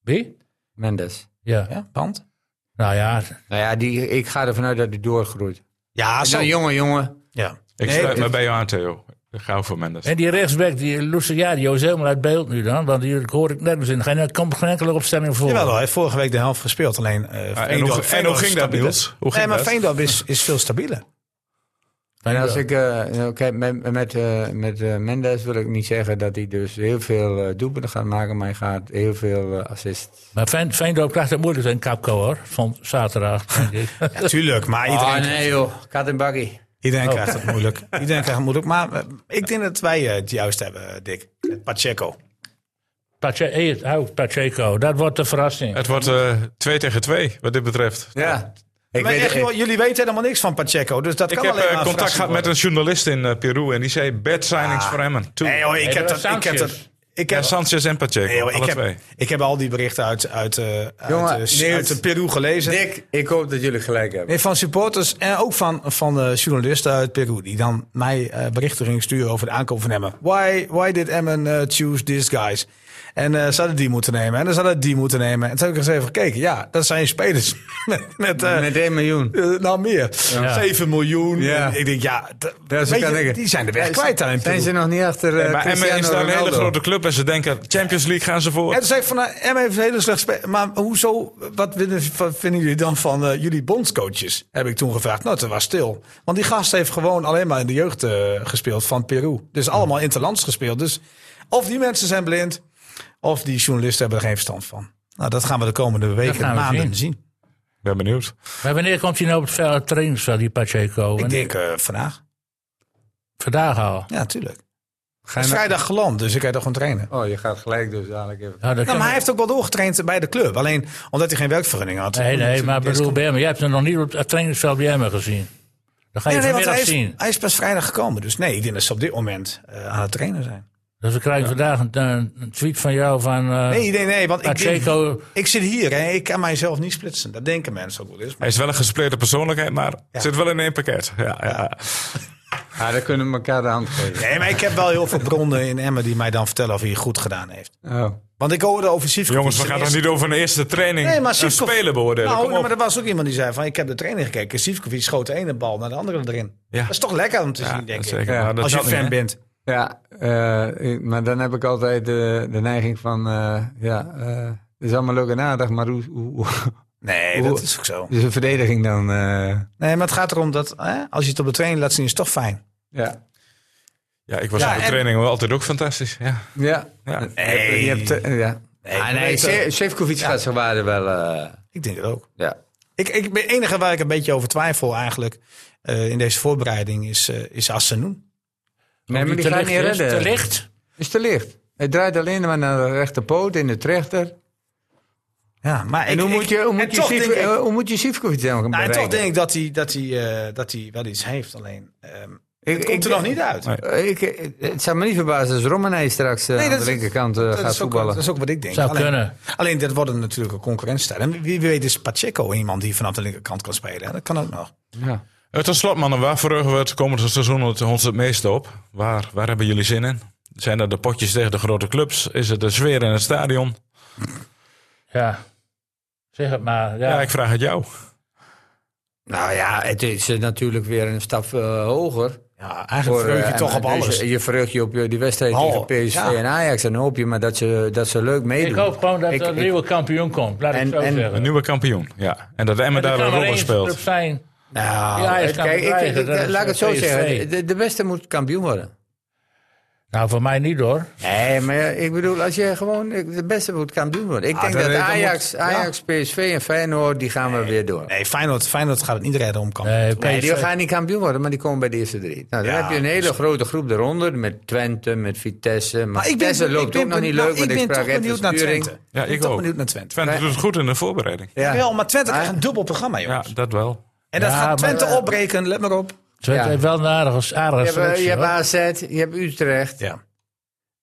S2: Wie?
S5: Mendes.
S2: Ja.
S4: Ja, want?
S2: Nou ja,
S5: Nou ja, die, ik ga ervan uit dat hij doorgroeit.
S4: Ja, zo.
S5: Zo'n jonge jongen.
S4: Ja.
S1: Ik
S4: Nee,
S1: sluit me bij jou aan, Theo. Gauw voor Mendes.
S2: en die rechtsback, die Luciadio, is helemaal uit beeld nu dan. Want hier hoor ik nergens in. Geen, er komt geen enkele opstelling voor.
S4: Jawel, hij heeft vorige week de helft gespeeld. Alleen eh
S1: Ah, en,
S4: Veendorp-
S1: hoe, en hoe
S4: Veendorp is
S1: ging dat,
S4: stabiel.
S1: Niels? Hoe
S4: Nee,
S1: ging
S4: maar
S1: dat?
S4: Veendorp is, is veel stabieler.
S5: En als ik, eh, nou, kijk, met, met, eh, met eh, Mendes wil ik niet zeggen dat hij dus heel veel eh, doelpunten gaat maken, maar hij gaat heel veel eh, assists.
S2: Maar Veen- Veendorp krijgt het moeilijk in Capco hoor. Van zaterdag, denk ik.
S4: Tuurlijk, maar
S2: Oh,
S4: iedereen,
S5: Ah, nee joh, kat en bakkie.
S4: iedereen krijgt het moeilijk. Iedereen krijgt het moeilijk. Maar eh, ik denk dat wij eh, het juist hebben, Dick. Met Pacheco.
S2: Pache- eh, het houdt Pacheco, dat wordt de verrassing.
S1: Het wordt eh 2 tegen 2, wat dit betreft.
S5: Ja. Ik
S4: maar
S5: weet,
S4: echt,
S5: ik-
S4: joh, jullie weten helemaal niks van Pacheco. Dus dat
S1: Ik
S4: kan
S1: heb
S4: alleen
S1: eh,
S4: maar een
S1: contact gehad
S4: verrassing
S1: met een journalist in eh, Peru en die zei bad signings voor hem. en toe.
S4: worden. Ah. Nee, joh, ik
S2: Nee,
S4: heb
S2: dat
S4: dat...
S2: was
S4: Ik heb
S2: Sanchez.
S4: dat... Ik
S1: Ja,
S4: heb,
S1: Sanchez en Pacheco,
S4: nee, joh, ik,
S1: alle
S4: heb,
S1: twee.
S4: ik heb al die berichten uit, uit, eh, uit,
S5: Jongen,
S4: eh,
S5: Niels.
S4: uit eh, Peru gelezen.
S5: Dick, ik hoop dat jullie gelijk hebben.
S4: Nee, van supporters en ook van, van eh, journalisten uit Peru. Die dan mij eh, berichten gingen sturen over de aankoop van Emmen. Why, why did Emmen eh, choose these guys? En eh ze hadden die moeten nemen. En dan hadden die moeten nemen. En toen heb ik eens even gekeken. Ja, dat zijn spelers. met, met, eh,
S5: Met 1 miljoen.
S4: eh, nou meer.
S2: Ja.
S4: 7 miljoen.
S5: Ja.
S4: En Ik denk, ja, d-
S5: Ja, zo
S4: weet
S5: kan
S4: je,
S5: ik-
S4: die zijn de weg
S5: Ja,
S4: kwijt daar in
S5: Zijn
S4: Peru.
S5: ze nog niet achter eh,
S1: maar Emmen
S5: Cristiano
S1: is daar een hele
S5: Ronaldo?
S1: grote club en ze denken Champions League gaan ze voor.
S4: En toen zei ik van, nou, Emmen heeft een hele slecht spel. Maar hoezo, wat vinden, wat vinden jullie dan van eh, jullie bondscoaches? Heb ik toen gevraagd. Nou, toen was stil. Want die gast heeft gewoon alleen maar in de jeugd eh, gespeeld van Peru. Dus allemaal
S2: Mm.
S4: interlands gespeeld. Dus of die mensen zijn blind, of die journalisten hebben er geen verstand van. Nou, dat gaan we de komende weken
S2: gaan
S4: en
S2: we
S4: maanden zien.
S2: zien.
S1: Ik ben benieuwd.
S2: Maar wanneer komt hij nou op het veld- het trainingsveld, die Pacheco?
S4: Ik
S2: Wanneer-
S4: denk eh, vandaag.
S2: Vandaag al.
S4: Ja, tuurlijk. Het
S5: Ga je
S4: is
S2: eh,
S5: nou-
S4: vrijdag geland, dus ik kan toch gewoon trainen.
S5: Oh, je gaat gelijk dus dadelijk even.
S2: Nou, dat
S4: Nou,
S2: kan-
S4: maar hij heeft ook wel doorgetraind bij de club. Alleen omdat hij geen werkvergunning had.
S2: Nee, nee, maar
S4: Deze
S2: bedoel, bij Emmen, jij hebt hem nog niet op het trainingsveld bij Emmen gezien. Dat ga je
S4: Nee, nee, want
S2: vanmiddag
S4: hij, is,
S2: zien.
S4: hij is pas vrijdag gekomen. Dus nee, ik denk dat ze op dit moment eh, aan het trainen zijn.
S2: Dus we krijgen vandaag een, een tweet van jou van... eh,
S4: Nee, nee, nee. Want ik, denk-
S2: Pacheco,
S4: ik zit hier hè, ik kan mijzelf niet splitsen. Dat denken mensen ook wel eens. Maar
S1: Hij is wel een gespleten persoonlijkheid, maar zit wel in één pakket. Ja, ja.
S5: Ja, Ah, dan kunnen we elkaar de hand geven.
S4: nee, maar ik heb wel heel veel bronnen in Emmen die mij dan vertellen of hij het goed gedaan heeft.
S5: Oh.
S4: Want ik hoorde over Sivkovic.
S1: Jongens, we
S4: ten
S1: gaan toch
S4: eerste-
S1: niet over een eerste training
S4: Nee, maar
S1: een
S4: Sivkovic-
S1: spelen beoordelen.
S4: Nou,
S1: Kom op.
S4: maar er was ook iemand die zei van... ik heb de training gekeken. Sivkovic schoot de ene bal naar de andere erin.
S1: Ja.
S4: Dat is toch lekker om te zien, denk ik.
S1: zeker.
S5: Ja,
S1: Maar dat
S4: Als je
S1: telt
S4: fan
S1: niet, hè?
S4: bent.
S5: Ja, eh, ik- maar dan heb ik altijd eh, de neiging van, eh, ja, eh, het is allemaal leuk en aardig, maar hoe, hoe, hoe
S4: Nee,
S5: Hoe-
S4: dat is ook zo.
S5: is een verdediging dan? eh,
S4: Nee, maar het gaat erom dat hè, als je het op de training laat zien, is het toch fijn.
S5: ja.
S1: Ja, ik was
S4: Ja,
S1: op de
S4: en-
S1: training wel altijd ook fantastisch. Ja.
S5: Ja.
S1: Ja.
S5: Je hebt, eh, ja.
S4: Nee,
S5: Ah, nee, Se- Sefcovic gaat zijn waarde wel, eh,
S4: Ik denk het ook.
S5: ja.
S4: Ik, ik ben enige waar ik een beetje over twijfel eigenlijk eh, in deze voorbereiding is, eh is Assenoen.
S5: Nee, maar die gaat niet
S2: is, Te
S5: redden.
S2: licht.
S5: Is te licht. Hij draait alleen maar naar de rechterpoot in de trechter.
S4: Ja, maar
S5: En
S4: ik,
S5: hoe
S4: ik-
S5: moet je- hoe
S4: en
S5: moet je
S4: toch
S5: Sif-
S4: denk ik-
S5: eh, hoe moet je Sefcovic dan
S4: nou, en
S5: bereiken?
S4: toch denk ik dat hij, dat, hij, eh, dat hij wel iets heeft. Alleen ehm
S5: Ik-
S4: het
S5: ik
S4: komt er
S5: denk-
S4: nog niet uit.
S1: Nee.
S5: Eh, Ik, eh, het zou me niet verbazen als Rommenij straks eh,
S4: Nee,
S5: aan
S4: dat
S5: de
S4: is-
S5: linkerkant eh,
S4: dat,
S5: gaat
S4: is ook, dat
S5: voetballen.
S4: is ook wat ik denk.
S2: Zou
S4: alleen,
S2: kunnen.
S4: alleen dat wordt een natuurlijk een concurrentstijd. En wie- wie weet is Pacheco iemand die vanaf de linkerkant kan spelen. Dat kan ook nog.
S5: Ja.
S1: Eh, Tot slot, mannen, waar verheugen we het komende seizoen het- ons het meeste op? Waar, waar hebben jullie zin in? Zijn dat de potjes tegen de grote clubs? Is het de sfeer in het stadion?
S2: Ja. Zeg het maar.
S1: Ja,
S2: Ja,
S1: ik vraag het jou.
S5: Nou ja, het is eh, natuurlijk weer een stap eh, hoger.
S4: Ja, eigenlijk verheug je
S5: eh,
S4: toch
S5: en-
S4: op
S5: dus
S4: alles.
S5: je, je verheugt je op eh, die wedstrijd
S4: Oh,
S5: tegen PSV
S4: ja.
S5: en Ajax. En hoop je maar dat ze, dat ze leuk meedoen.
S2: ik hoop gewoon dat eh,
S5: Ik-
S2: er een
S5: ik-
S2: nieuwe kampioen komt. Laat
S5: En-
S2: ik zo
S5: en-
S2: zeggen.
S1: Een nieuwe kampioen, ja. En dat Emmen
S2: Er
S1: daar
S2: kan
S1: een
S2: maar
S1: rol in
S2: één club
S1: speelt.
S2: zijn.
S5: Nou,
S2: Ja, Ajax kan
S5: kijk, ik- ik-
S2: bedreigen, dat
S5: ik-
S2: is,
S5: laat ik het zo
S2: eh, PSV.
S5: zeggen. De, de beste moet kampioen worden.
S2: Nou, voor mij niet hoor.
S5: Nee, maar ja, ik bedoel, als je gewoon ik- de beste moet kan doen. worden. Ik denk
S4: dat-
S5: dat
S4: dat
S5: Ajax,
S4: moet-
S5: Ajax PSV en Feyenoord, die gaan we weer door.
S4: Nee, Feyenoord, Feyenoord gaat het niet redden om kampioen.
S2: Nee,
S5: Nee,
S2: PSV
S5: die gaan niet kampioen worden, maar die komen bij de eerste drie. Nou, dan
S4: Ja, dus-
S5: heb je een hele grote groep eronder, met Twente, met Vitesse. Maar
S4: ik ben-
S5: Vitesse
S4: ik
S5: loopt
S4: ben
S5: ook nog niet
S4: benieuwd-
S5: leuk, want
S4: ik
S5: ik
S4: ben
S5: sprak
S4: toch
S5: Ed
S4: benieuwd
S5: de
S4: naar
S5: Sturing.
S4: Twente.
S1: Ja, ik
S4: ben toch
S1: ook.
S4: benieuwd naar Twente.
S1: Twente doet het goed in de voorbereiding.
S5: Ja.
S4: Wel, maar Twente krijgt
S5: Ah.
S4: een dubbel programma, joh.
S1: Ja, dat wel.
S4: En dat
S2: Ja, maar-
S4: gaat Twente opbreken, let maar op.
S2: Twente
S5: Ja.
S2: heeft wel een aardige, aardige
S5: Je hebt, eh,
S2: selectie,
S5: je hebt
S2: hoor.
S5: AZ, je hebt Utrecht.
S4: Ja.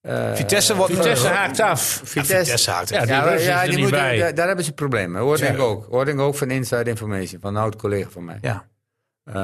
S5: eh,
S4: Vitesse wordt...
S2: Vitesse haakt af.
S5: Vitesse.
S4: Vitesse houdt het.
S2: Ja, die
S5: maar-
S2: Russen zitten er niet
S5: moeten-
S2: bij.
S5: daar, daar hebben ze problemen. Hoorde
S4: Ja.
S5: ik ook. Hoorde ik ook van Inside Information, van een oud-collega van mij.
S4: Ja.
S5: Eh,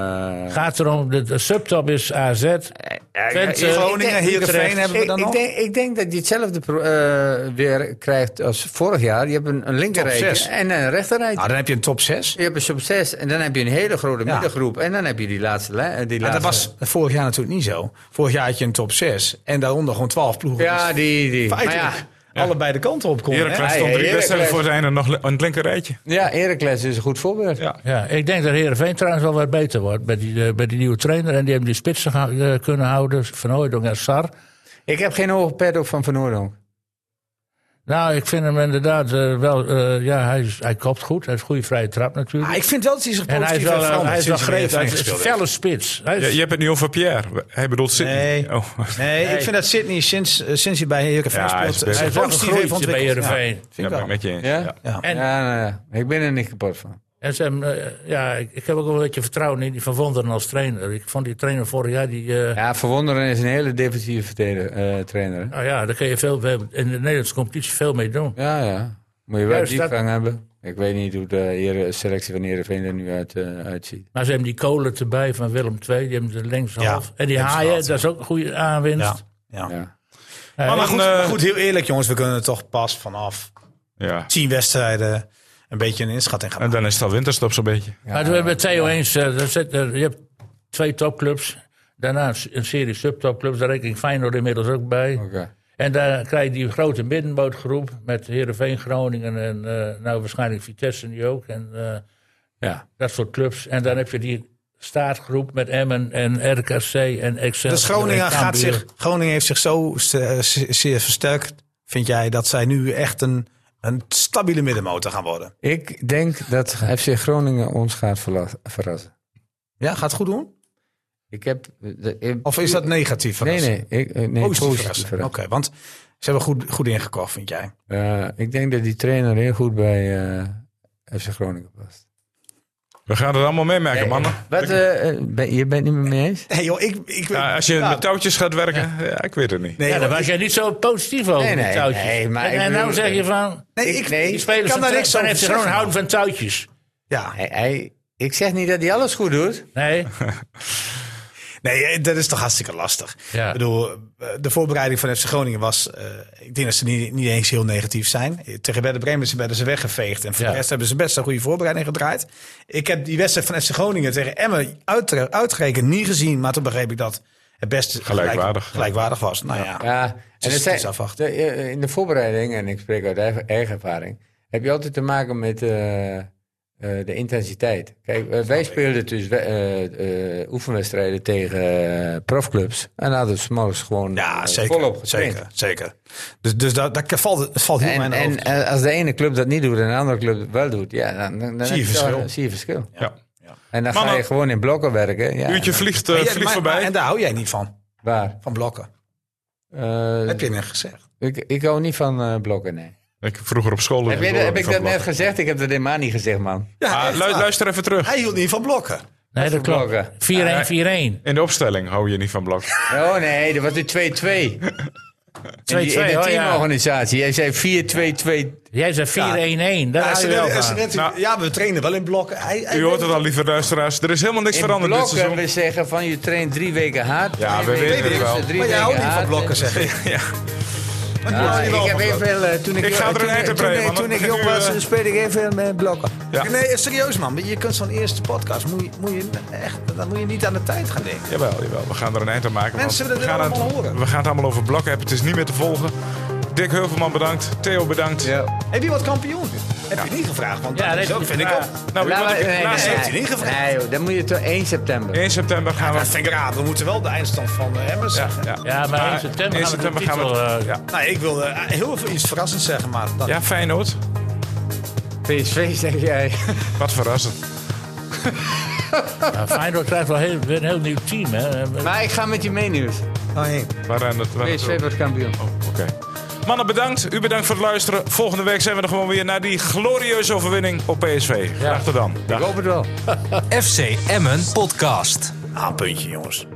S2: Gaat erom, de, de subtop is AZ.
S5: Ja,
S2: Twente,
S5: ik- ik-
S4: Eh, Groningen,
S5: ik denk-
S4: Heerenveen
S5: Utrecht.
S4: hebben we dan
S5: ik,
S4: nog.
S5: Ik denk, ik denk dat je hetzelfde pro- eh, weer krijgt als vorig jaar. Je hebt een, een
S4: Top
S5: linkerrijtje
S4: zes.
S5: en een rechterrijtje.
S4: Nou, dan heb je een top 6.
S5: je hebt een sub 6 en dan heb je een hele grote
S4: Ja.
S5: middengroep. En dan heb je die laatste... li- eh, Die
S4: Maar
S5: laatste
S4: dat was vorig jaar natuurlijk niet zo. Vorig jaar had je een top 6 en daaronder gewoon 12 ploegen.
S5: ja,
S4: die
S5: die... die. Maar ja,
S4: feitelijk allebei de kanten op konden. hè?
S1: Heracles
S5: Ja,
S1: stond
S5: ja,
S1: drie wedstrijden
S5: Heracles.
S1: voor het einde nog li- aan het linker rijtje.
S5: ja, Heracles is een goed voorbeeld.
S1: Ja.
S2: Ja, ik denk dat Heerenveen trouwens wel wat beter wordt met die, eh, met die nieuwe trainer. En die hebben die spitsen geha- eh, kunnen houden, Van Hooydonk en Sar.
S5: Ik heb geen hoge pet op van Van Oordonk.
S2: Nou, ik vind hem inderdaad eh, wel... eh, ja, hij, is- hij kopt goed. Hij heeft goede vrije trap natuurlijk.
S4: Ah, ik vind wel dat hij zich
S2: en
S4: positief
S2: hij is
S4: heeft
S2: wel, eh,
S4: veranderd
S2: hij is wel
S4: sinds hij
S2: greep. Hij
S4: weer
S2: is een
S4: heeft gespeeld.
S2: felle spits. Hij
S1: Je,
S2: is-
S1: je hebt het nu over Pierre. Hij bedoelt Sidney.
S4: Nee.
S1: Oh.
S4: Nee, ik vind dat Sidney sinds, eh, sinds hij bij Heerenveen
S1: Ja, hij is
S4: speelt
S1: best-
S4: zich
S2: hij is wel
S4: positief
S2: gegroeid
S4: heeft ontwikkeld.
S2: bij Heerenveen.
S4: Ja, vind
S1: Ja, ben
S4: ik wel.
S1: ik met je eens.
S5: Ja?
S4: Ja.
S2: En-
S5: ja, nou, ja. ik ben er niet kapot van.
S2: En ze hebben, eh, ja, ik, ik heb ook wel een beetje vertrouwen in die Van Wonderen als trainer. Ik vond die trainer vorig jaar... Die, eh,
S5: Ja, Verwonderen is een hele defensieve verdediger, eh, trainer. hè?
S2: Nou ja, daar kun je veel, veel- in de Nederlandse competitie veel mee doen.
S5: Ja, ja. Moet je wel
S2: Juist,
S5: diepgang hebben. Ik weet niet hoe de heren- selectie van Heerenveen er nu uit, eh, uitziet.
S2: Maar ze hebben die kolen erbij van Willem II. Die hebben de links
S4: Ja,
S2: half. En die
S4: hebben ze
S2: haaien,
S4: gehad,
S2: dat is ook een goede aanwinst.
S4: Ja. Ja.
S5: Ja.
S2: Eh,
S4: Maar,
S1: Dan,
S4: goed,
S1: eh,
S4: maar goed, heel eerlijk jongens, we kunnen toch pas vanaf
S1: Ja.
S4: 10 wedstrijden een beetje een inschatting gaan
S1: En
S4: maken.
S1: dan is het al winterstop zo'n beetje.
S2: maar we hebben Theo eens, eh, daar zit, er- je hebt twee topclubs. Daarna een s- een serie subtopclubs. Daar reken ik Feyenoord inmiddels ook bij.
S4: Oh.
S5: Oké.
S2: En daar krijg je die grote middenbootgroep. Met Heerenveen, Groningen en eh, nou waarschijnlijk Vitesse nu ook. En eh,
S5: Ja.
S2: dat soort clubs. En dan heb je die staartgroep met Emmen en RKC en Excel.
S4: Dus Groningen,
S2: en
S4: gaat
S2: Cambuur.
S4: zich, Groningen heeft zich zo se- se- zeer versterkt, vind jij, dat zij nu echt een, een stabiele middenmotor gaan worden.
S5: Ik denk dat FC Groningen ons gaat verla- verrassen.
S4: Ja, gaat het goed doen?
S5: Ik heb... de- ik-
S4: Of is dat negatief?
S5: Nee,
S4: verrassen?
S5: nee. Ik, eh, nee
S4: Positief,
S5: positief
S4: verrassen. Oké,
S5: verrassen.
S4: want ze hebben goed, goed ingekocht, vind jij.
S5: Eh, ik denk dat die trainer heel goed bij eh, FC Groningen past.
S1: We gaan het allemaal meemaken, mannen.
S5: Wat, eh, eh, ben- je bent niet meer mee eens?
S4: Nee joh, ik... ik
S1: Ja, als je
S4: Ja,
S1: met touwtjes gaat werken, ja. ik weet het niet.
S4: nee,
S2: Ja,
S4: joh,
S2: daar was jij niet zo positief over,
S5: Nee,
S2: die
S5: nee,
S2: touwtjes.
S5: nee, maar
S2: en,
S5: ik
S2: en nou
S5: bedoel-
S2: zeg je van,
S4: nee,
S5: ik-
S4: ik,
S5: nee,
S2: die
S5: ik
S2: spelers van
S4: kan daar
S2: Twente-
S4: niks
S2: van
S4: over
S2: heeft gewoon
S4: zeggen.
S2: houden van touwtjes.
S4: Ja,
S5: Hij, hij- ik zeg niet dat hij alles goed doet.
S2: Nee,
S4: nee, eh, dat is toch hartstikke lastig.
S2: Ja.
S4: Ik bedoel, eh, de voorbereiding van FC Groningen was... eh, ik denk dat ze niet, niet eens heel negatief zijn. Eh, Tegen Werder Bremen ze- werden ze weggeveegd. En voor
S2: Ja.
S4: de rest hebben ze best een goede voorbereiding gedraaid. Ik heb die wedstrijd van FC Groningen tegen Emmen uitre- uitgerekend niet gezien. Maar toen begreep ik dat het best
S1: Gelijkwaardig.
S4: gelijkwaardig was. Nou ja,
S5: Ja, en
S4: is-
S5: het
S4: het
S5: zijn,
S4: is afwachten.
S5: de- eh, in de voorbereiding, en ik spreek uit eigen, eigen ervaring, heb je altijd te maken met eh, eh, de intensiteit. Kijk, eh, wij speelden dus we- eh, eh, oefenwedstrijden tegen eh, profclubs en hadden s'morgens gewoon
S4: ja
S5: eh,
S4: zeker,
S5: volop getraind.
S4: zeker, zeker. Dus, dus dat, dat valt, het valt heel
S5: En,
S4: mijn hoofd.
S5: en eh, als de ene club dat niet doet en de andere club dat wel doet, ja, dan, dan, dan
S4: Zie je
S5: heb wel-
S4: verschil.
S5: zie je verschil.
S1: Ja.
S5: En dan
S1: Mannen.
S5: ga je gewoon in blokken werken. Ja,
S1: Uurtje vliegt, eh,
S4: Maar jij-
S1: vliegt
S4: maar-
S1: voorbij.
S4: maar- en daar hou jij niet van,
S5: Waar?
S4: van blokken.
S5: Eh,
S4: Heb je net gezegd.
S5: ik, ik hou niet van eh, blokken, nee.
S1: Ik vroeger op school. dus
S5: Heb, je,
S1: ik
S5: heb ik
S1: van
S5: dat net
S1: blokken.
S5: gezegd? Ik heb dat helemaal niet gezegd, man.
S1: Ah, lu- luister even terug.
S4: Hij hield niet van blokken.
S2: nee dat klopt.
S5: blokken.
S2: 4-1, 4-1.
S1: In de opstelling hou je niet van blok.
S5: Oh nee, dat was de 2-2. 2-2, in, die- in
S2: oh
S5: de
S2: ja.
S5: teamorganisatie. Jij zei 4-2-2.
S2: Jij zei 4-1-1, daar
S4: Ja,
S2: hou
S4: ze
S2: je wel
S4: redden- ze
S2: van.
S4: redden-
S1: Nou.
S4: ja, we trainen wel in blokken. Hij, hij
S1: U hoort het al, lieve luisteraars. Er is helemaal niks
S5: In
S1: veranderd dit
S5: blokken
S1: seizoen.
S5: we zeggen van je traint drie weken hard.
S1: Ja,
S5: drie
S1: we weten het
S5: rusten,
S1: wel.
S5: drie
S4: maar jij
S5: weken
S4: houdt niet van
S5: hard.
S4: blokken, zeg ik.
S5: Ah, ik heb even veel, eh, toen ik,
S1: Ik ga er een
S5: toen,
S1: eind aan
S5: toen,
S1: breien,
S5: ik-
S1: man.
S5: toen ik
S1: Dan
S5: jong
S1: gaan we,
S5: was,
S1: eh,
S5: speelde ik even met blokken.
S1: Ja.
S4: Nee, eh, serieus man. Je kunt zo'n eerste podcast, moet je, moet je echt, dan moet je niet aan de tijd gaan denken.
S1: Jawel, jawel. We gaan er een eind aan maken. want
S4: Mensen willen
S1: we
S4: dit
S1: gaan
S4: allemaal
S1: het,
S4: horen.
S1: We gaan het allemaal over blokken hebben. Het is niet meer te volgen. Dick Heuvelman bedankt. Theo bedankt.
S4: Heb je wat kampioen? Heb je niet gevraagd? Want
S2: Ja,
S4: dat
S2: dat
S4: is
S2: heb
S4: ook,
S2: je
S4: vind ik
S2: niet
S4: ook.
S2: gevraagd.
S1: Nou,
S5: Laat
S1: wat
S5: maar-
S1: ik
S5: nee,
S1: laatst
S5: nee,
S1: heb-
S4: heeft hij ingevraagd.
S5: Nee, joh, dan moet je toch 1 september.
S1: 1 september gaan
S4: Dat
S1: we...
S4: vind ik raar. We moeten wel de eindstand van eh, Emmers
S1: Ja,
S4: zeggen.
S1: ja. Ah,
S2: Ja, maar 1 september gaan we de titel, eh,
S1: ja.
S4: Nou, ik wil eh, heel veel iets verrassends zeggen, maar... Dat,
S1: ja, Feyenoord.
S5: PSV zeg jij.
S1: Wat verrassend.
S2: Ja, Nou, Feyenoord krijgt wel heel, weer een heel nieuw team. Hè.
S5: Maar ik ga met je mee nieuws.
S4: Oh, nee.
S1: Waar aan het... waar aan het-
S5: PSV wordt kampioen.
S1: Oh, Oké. Mannen, bedankt. U bedankt voor het luisteren. Volgende week zijn we er gewoon weer naar die glorieuze overwinning op PSV. Graag tot dan. Dag.
S5: Ik hoop het wel.
S3: FC Emmen Podcast.
S4: Ah, puntje, jongens.